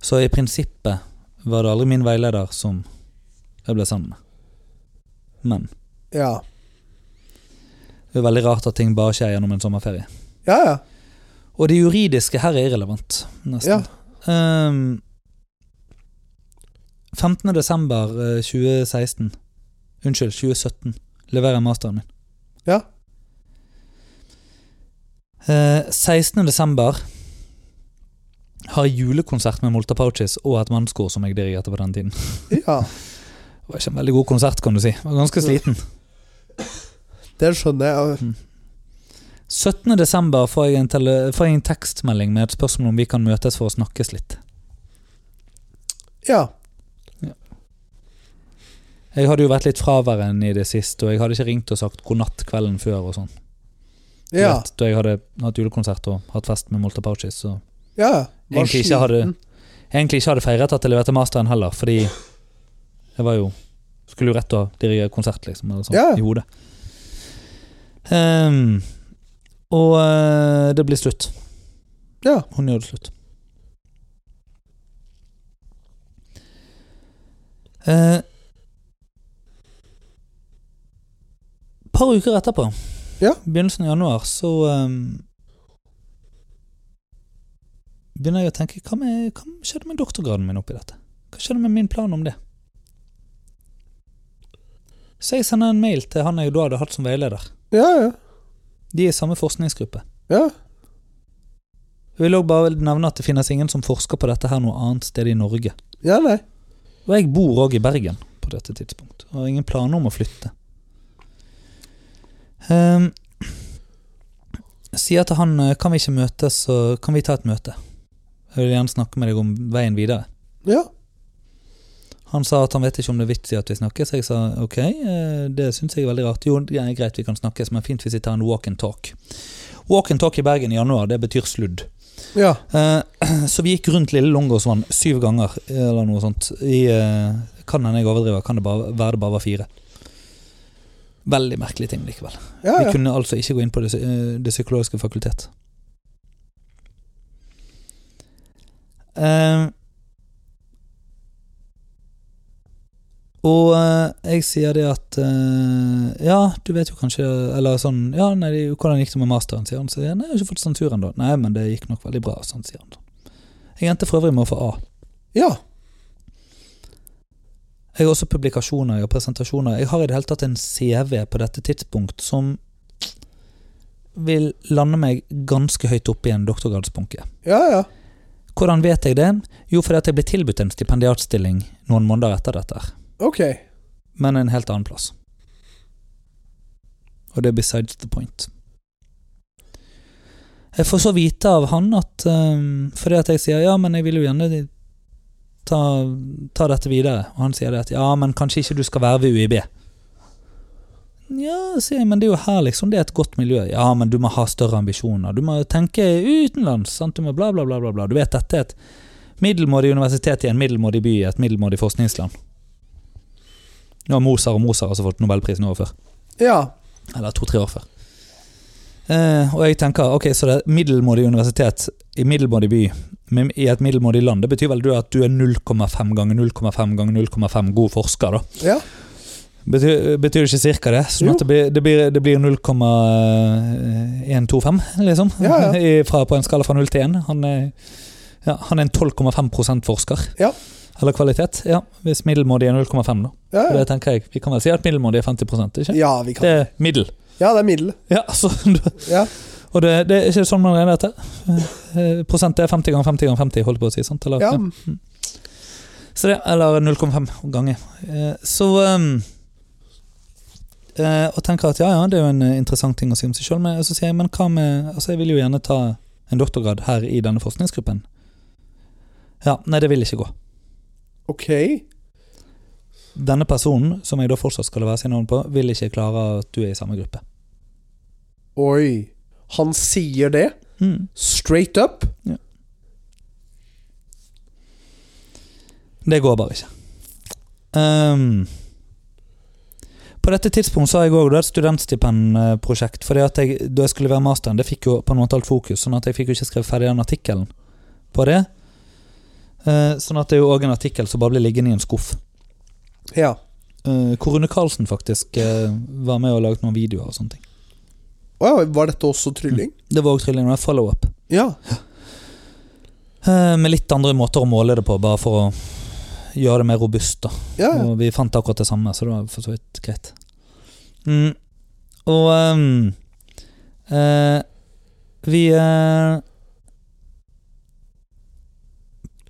Så i prinsippet var det aldri min veileder som jeg ble sammen med. Men
Ja.
det er veldig rart at ting bare skjer gjennom en sommerferie.
Ja, ja.
Og det juridiske her er irrelevant,
Ja.
nesten. Ehm, 15. desember eh, 2016 Unnskyld, 2017 leverer jeg masteren min.
Ja.
Eh, 16. desember har jeg julekonsert med Molta Pouches og et mannskor som jeg dirigerte på den tiden.
ja.
Det var ikke en veldig god konsert, kan du si. Jeg var ganske sliten.
Det skjønner jeg.
17. desember får jeg, en tele får jeg en tekstmelding med et spørsmål om vi kan møtes for å snakkes litt.
Ja.
Jeg hadde jo vært litt fraværende i det siste, og jeg hadde ikke ringt og sagt god natt kvelden før og sånn. Du
Ja.
vet, Da jeg hadde hatt julekonsert og hatt fest med Molta Pouches. Så
ja. Var
Egentlig ikke har du-
sliten.
jeg egentlig ikke hadde feiret at jeg leverte masteren heller, fordi jeg var jo Skulle jo rett og dirigere konsert, liksom, eller sånn,
Ja.
i hodet. Ehm, og eh, det blir slutt.
Ja.
Hun gjør det slutt. Eh, par uker etterpå,
Ja.
begynnelsen av januar, så ehm, begynner jeg å tenke hva, med, hva skjedde med doktorgraden min oppi dette? Hva skjedde med min plan om det? Så jeg sender en mail til han jeg da hadde hatt som veileder.
Ja, ja.
De er i samme forskningsgruppe.
Ja.
Jeg vil også bare nevne at det finnes ingen som forsker på dette her noe annet sted i Norge.
Ja, nei.
Og jeg bor òg i Bergen på dette tidspunkt. Og har ingen planer om å flytte. Ehm, sier til han eh, kan vi ikke møtes, så kan vi ta et møte. Jeg vil gjerne snakke med deg om veien videre.
Ja.
Han sa at han vet ikke om det er vits i at vi snakkes. Jeg sa ok, eh, det syns jeg er veldig rart. Jo, det er greit vi kan snakkes, men fint hvis vi tar en walk and talk. Walk and talk i Bergen i januar, det betyr sludd.
Ja.
Eh, Så vi gikk rundt Lille Långåsvann syv ganger, eller noe sånt. I, eh, kan hende jeg overdriver, kan det bare, være det bare var fire. Veldig merkelige ting likevel.
Ja,
Vi
ja.
kunne altså ikke gå inn på Det, psy- eh, det psykologiske fakultet. Eh, og eh, jeg sier det at eh, Ja, du vet jo kanskje Eller sånn Ja, nei, det er jo- hvordan gikk det med masteren, sier han. Så sier jeg, nei, jeg har ikke fått sensur ennå. Nei, men det gikk nok veldig bra, sånn, sier han. Jeg endte for øvrig med å få A.
ja.
Jeg har også publikasjoner jeg har presentasjoner. Jeg har i det hele tatt en CV på dette tidspunkt som vil lande meg ganske høyt oppe i en doktorgradsbunke.
Ja, ja.
Hvordan vet jeg det? Jo, fordi at jeg ble tilbudt en stipendiatstilling noen måneder etter dette, her,
Ok.
men en helt annen plass. Og det er besides the point. Jeg får så vite av han at eh, Fordi at jeg sier ja, men jeg vil jo gjerne ta, ta dette videre. Og han sier det at ja, men kanskje ikke du skal være ved UiB. Ja, sier jeg, men det er jo her liksom det er et godt miljø. Ja, men du må ha større ambisjoner. Du må tenke utenlands. sant? Du må bla, bla, bla, bla, bla. Du vet dette er et middelmådig universitet i en middelmådig by i et middelmådig forskningsland. Nå har Moser og Moser altså fått nobelprisen året før.
Ja.
Eller to-tre år før. Eh, og jeg tenker ok, så det er middelmådig universitet i middelmådig by men i et middelmådig land. Det betyr vel du at du er 0,5 ganger 0,5 ganger 0,5 god forsker, da.
Ja.
Betyr, betyr det ikke cirka det? Sånn
Jo.
at det blir, det blir, det blir 0,125, liksom.
Ja, ja.
I- Fra, på en skala fra 0 til 1. Han er, ja, han er en 12,5 forsker.
Ja.
Eller kvalitet. Ja, hvis middelmådig er 0,5, da.
Ja,
Og
ja.
Det tenker jeg. Vi kan vel si at middelmådig er 50 ikke?
ja, vi
Det
kan.
er middel.
ja det er middel.
Ja, altså,
Ja.
og det, det er ikke sånn man regner dette. Eh, Prosent er 50 ganger 50 ganger 50, holdt jeg på å si. sant? Eller,
Ja.
Så det, eller 0,5 ganger. Eh, Så ehm, eh, Og tenker at ja, ja, det er jo en eh, interessant ting å si om seg sjøl, men så sier jeg men hva med Altså, jeg vil jo gjerne ta en doktorgrad her i denne forskningsgruppen. Ja, nei, det vil ikke gå.
Ok.
Denne personen, som jeg da fortsatt skal være sin navn på, vil ikke klare at du er i samme gruppe.
Oi. Han sier det
Mm.
straight up.
Det går bare ikke. Ehm, på dette tidspunkt så har jeg òg et studentstipendprosjekt. Fordi at jeg, da jeg skulle være masteren, det fikk jo på noe alt fokus, sånn at jeg fikk jo ikke skrevet ferdig den artikkelen på det. Eh, sånn at det er jo òg en artikkel som bare blir liggende i en skuff.
Ja.
Eh, hvor Rune Karlsen faktisk eh, var med og laget noen videoer og sånne ting.
Å ja, var dette også trylling?
Det var òg trilling og follow-up.
Ja.
Eh, med litt andre måter å måle det på, bare for å gjøre det mer robust, da.
Ja, ja.
Og vi fant akkurat det samme, så det var for så vidt greit. Mm. Og ehm, eh, vi eh,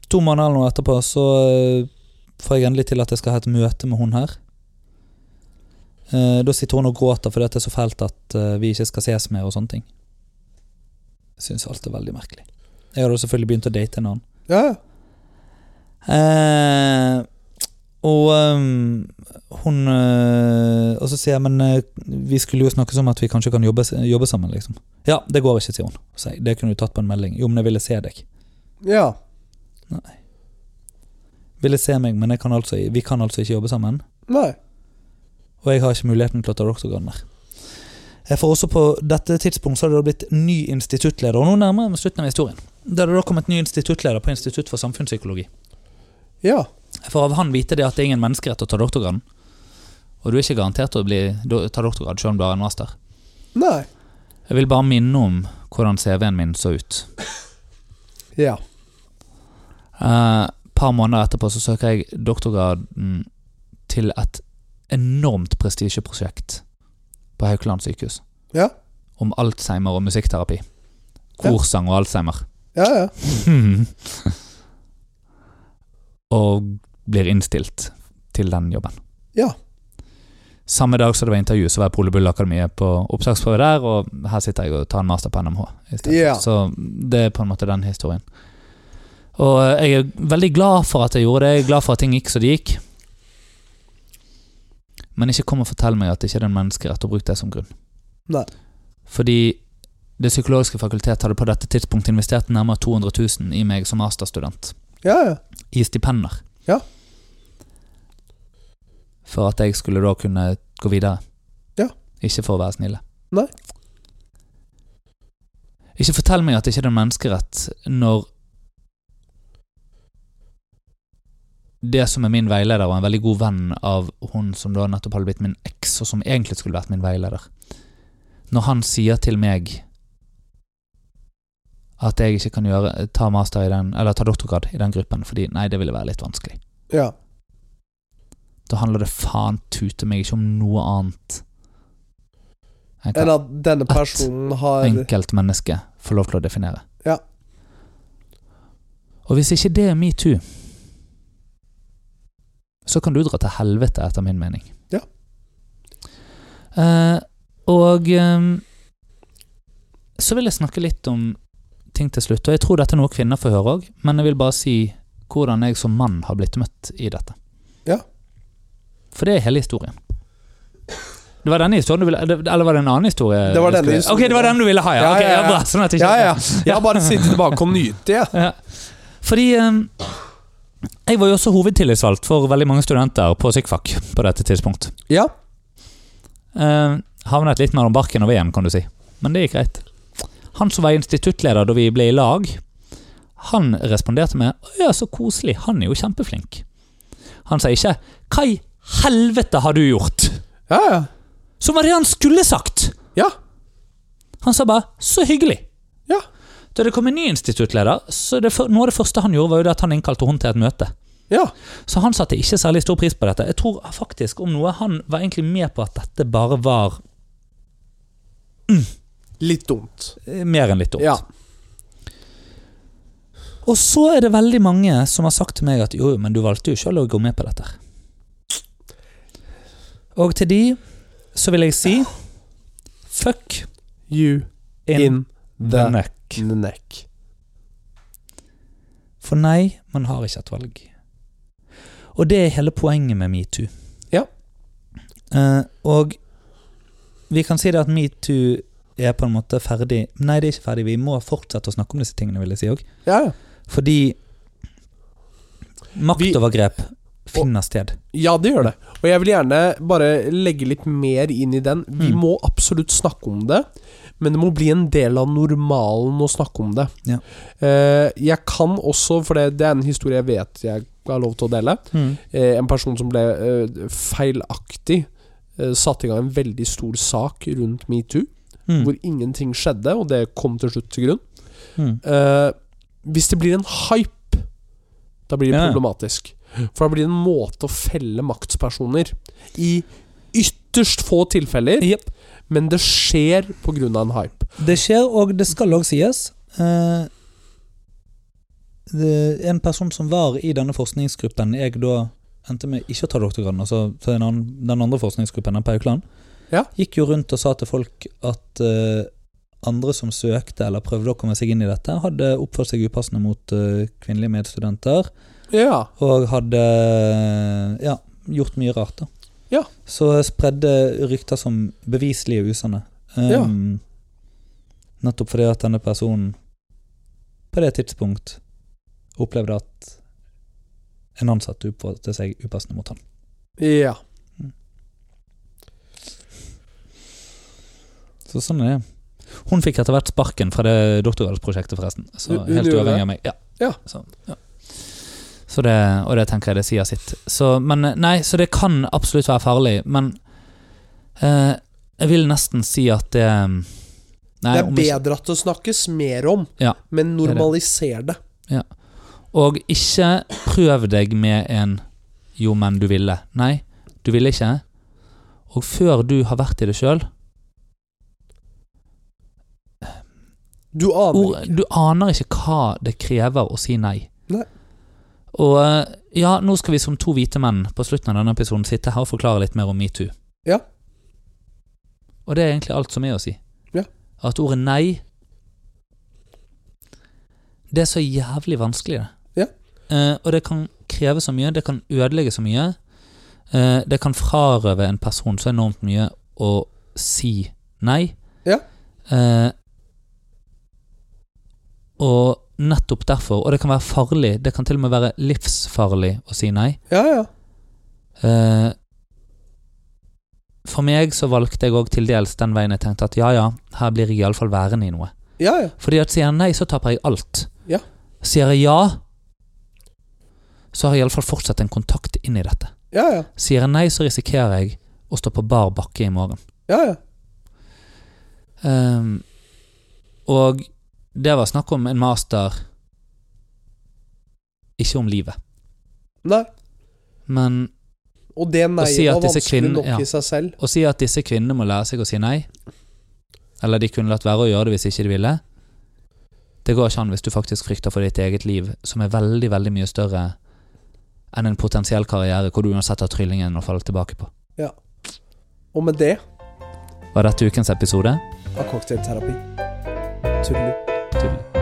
To måneder eller noe etterpå så eh, får jeg endelig til at jeg skal ha et møte med hun her. Eh, da sitter hun og gråter fordi at det er så fælt at eh, vi ikke skal ses mer og sånne ting. Jeg syns alt er veldig merkelig. Jeg hadde jo selvfølgelig begynt å date en annen.
ja. ja.
Eh, og ehm, hun eh, Og så sier jeg men eh, vi skulle jo snakke om at vi kanskje kan jobbe, s- jobbe sammen. liksom Ja, det går ikke, sier hun. Så jeg, det kunne du tatt på en melding. Jo, men jeg ville se deg.
ja.
Ville se meg, men jeg kan altså, vi kan altså ikke jobbe sammen.
Nei.
Og jeg har ikke muligheten til å ta doktorgraden der. Jeg får også på dette tidspunkt så hadde det blitt ny instituttleder, og nå nærmer jeg meg slutten av historien. Det hadde da kommet ny instituttleder på Institutt for samfunnspsykologi.
Ja.
For av han vite det at det er ingen menneskerett å ta doktorgraden. Og du er ikke garantert å bli, do- ta doktorgrad selv om du har en master.
Nei.
Jeg vil bare minne om hvordan CV-en min så ut.
Ja.
Et Eh, par måneder etterpå så søker jeg doktorgraden til et enormt prestisjeprosjekt på Haukeland sykehus.
Ja.
Om Alzheimer og musikkterapi. Korsang og Alzheimer.
Ja, ja.
og blir innstilt til den jobben.
Ja.
Samme dag som det var intervju, så var jeg Pole Bull Akademiet på opptaksprøve der, og her sitter jeg og tar en master på NMH. i stedet.
Ja.
Så det er på en måte den historien. Og eh, jeg er veldig glad for at jeg gjorde det, jeg er glad for at ting gikk som det gikk. Men ikke kom og fortell meg at det ikke er en menneskerett å bruke det som grunn.
Nei.
Fordi Det psykologiske fakultet hadde på dette tidspunktet investert nærmere 200 000 i meg som masterstudent
Ja, ja.
i stipender.
Ja.
For at jeg skulle da kunne gå videre.
Ja.
Ikke for å være snille.
Nei.
Ikke fortell meg at det ikke er en menneskerett når det som er min veileder, og en veldig god venn av hun som da nettopp hadde blitt min eks, og som egentlig skulle vært min veileder Når han sier til meg at jeg ikke kan gjøre, ta master i den, eller ta doktorgrad i den gruppen, fordi nei, det ville være litt vanskelig.
Ja.
Da handler det faen tute meg ikke om noe annet enn
Enn
hva
at denne personen har
enkeltmennesket får lov til å definere.
Ja.
Og hvis ikke det er metoo, så kan du dra til helvete, etter min mening.
Ja.
Eh, og eh, så vil jeg snakke litt om ting til slutt, og jeg tror dette er noe kvinner får høre òg, men jeg vil bare si hvordan jeg som mann har blitt møtt i dette.
Ja.
For det er hele historien. Det var denne historien du ville Eller var det en annen historie?
Det var
du
denne
skulle-
historien.
Ok, det var den du ville ha, ja.
Ja,
Ok,
ja, ja.
bra, sånn at jeg
Ja,
ikke
ja. Jeg har bare sittet tilbake og nytt, jeg.
ja. Fordi ehm, jeg var jo også hovedtillitsvalgt for veldig mange studenter på Sykfak på dette tidspunkt.
Ja.
Uh, havnet litt mellom barken og VM, kan du si. Men det gikk greit. Han som var instituttleder da vi ble i lag, han responderte med «Å ja, så koselig, han er jo kjempeflink. Han sa ikke 'hva i helvete har du gjort?'
Ja, ja.
Som var det han skulle sagt!
Ja.
Han sa bare 'så hyggelig'.
Ja.
Da det kom en ny instituttleder, så det, for- noe av det første han gjorde, var jo det at han innkalte hun til et møte.
Ja.
Så han satte ikke særlig stor pris på dette. Jeg tror faktisk om noe han var egentlig med på at dette bare var
Litt dumt.
eh, mer enn litt dumt.
Ja.
Og så er det veldig mange som har sagt til meg at jo, men du valgte jo sjøl å gå med på dette. Og til de så vil jeg si fuck
You in,
in the
the,
neck.
neck.
For nei, man har ikke et valg. Og det er hele poenget med metoo.
Ja.
Eh, og vi kan si det at metoo er på en måte ferdig. Nei, det er ikke ferdig. Vi må fortsette å snakke om disse tingene, vil jeg si òg.
Ja, ja.
Fordi maktovergrep finner sted.
Ja, det gjør det. Og jeg vil gjerne bare legge litt mer inn i den. Vi
Mm.
må absolutt snakke om det, men det må bli en del av normalen å snakke om det.
Ja.
Eh, jeg kan også, for det, det er en historie jeg vet jeg har lov til å dele, eh, en person som ble eh, feilaktig eh, satte i gang en veldig stor sak rundt metoo,
Mm.
hvor ingenting skjedde, og det kom til slutt til grunn.
Mm.
Eh, hvis det blir en hype, da blir det
Ja, ja.
problematisk. For da blir det en måte å felle maktspersoner i ytterst få tilfeller,
Jepp.
men det skjer pga. en hype.
Det skjer, og det skal òg sies. eh, det, en person som var i denne forskningsgruppen jeg da endte med ikke å ta doktorgraden, altså til den, an, den andre forskningsgruppen, den på Haukeland,
Ja.
gikk jo rundt og sa til folk at eh, andre som søkte eller prøvde å komme seg inn i dette, hadde oppført seg upassende mot eh, kvinnelige medstudenter.
Ja.
Og hadde ja, gjort mye rart, da.
Ja.
Så spredde rykter som beviselig usanne. Um,
Ja.
Nettopp fordi at denne personen på det tidspunkt opplevde at en ansatt oppførte seg upassende mot han.
ja.
Så sånn er det. Hun fikk etter hvert sparken fra det doktorgradsprosjektet, forresten. Så
Hun- hun
helt
gjorde
uavhengig av meg. Ja.
Ja.
Så, ja. Så det, og det tenker jeg det sier sitt. Så, men, eh, nei, så det kan absolutt være farlig, men eh, jeg vil nesten si at det eh, Nei,
Det er
om ikke,
bedre at det snakkes mer om,
Ja,
men
er det.
normaliser det.
og ikke prøv deg med en 'jo, men du ville'. Nei, du ville ikke. Og før du har vært i det sjøl,
Du aner
Ord, du aner ikke hva det krever å si nei.
Nei.
Og eh, ja, nå skal vi som to hvite menn på slutten av denne episoden sitte her og forklare litt mer om metoo.
Ja.
Og det er egentlig alt som er å si.
Ja.
At ordet nei Det er så jævlig vanskelig, det.
Ja.
Eh, og det kan kreve så mye, det kan ødelegge så mye. Eh, det kan frarøve en person så enormt mye å si nei.
Ja.
Eh, og nettopp derfor, og det kan være farlig, det kan til og med være livsfarlig å si nei.
Ja, ja.
Eh, for meg så valgte jeg òg til dels den veien jeg tenkte at ja ja, her blir jeg iallfall værende i noe.
Ja, ja.
Fordi at sier jeg nei, så taper jeg alt.
Ja.
Sier jeg ja, så har jeg iallfall fortsatt en kontakt inn i dette.
Ja, ja.
Sier jeg nei, så risikerer jeg å stå på bar bakke i morgen.
ja, ja.
Ehm, og det var snakk om en master, ikke om livet.
Nei.
Men
Og det nei-et
si at
var
disse
vanskelig
kvinnen-
nok
ja.
i seg selv.
å si at disse kvinnene må lære seg å si nei, eller de kunne latt være å gjøre det hvis ikke de ville, det går ikke an hvis du faktisk frykter for ditt eget liv, som er veldig, veldig mye større enn en potensiell karriere hvor du uansett har tryllingen å falle tilbake på.
Og med det
Var dette ukens episode?
av cocktailterapi. Tullu.
Tull.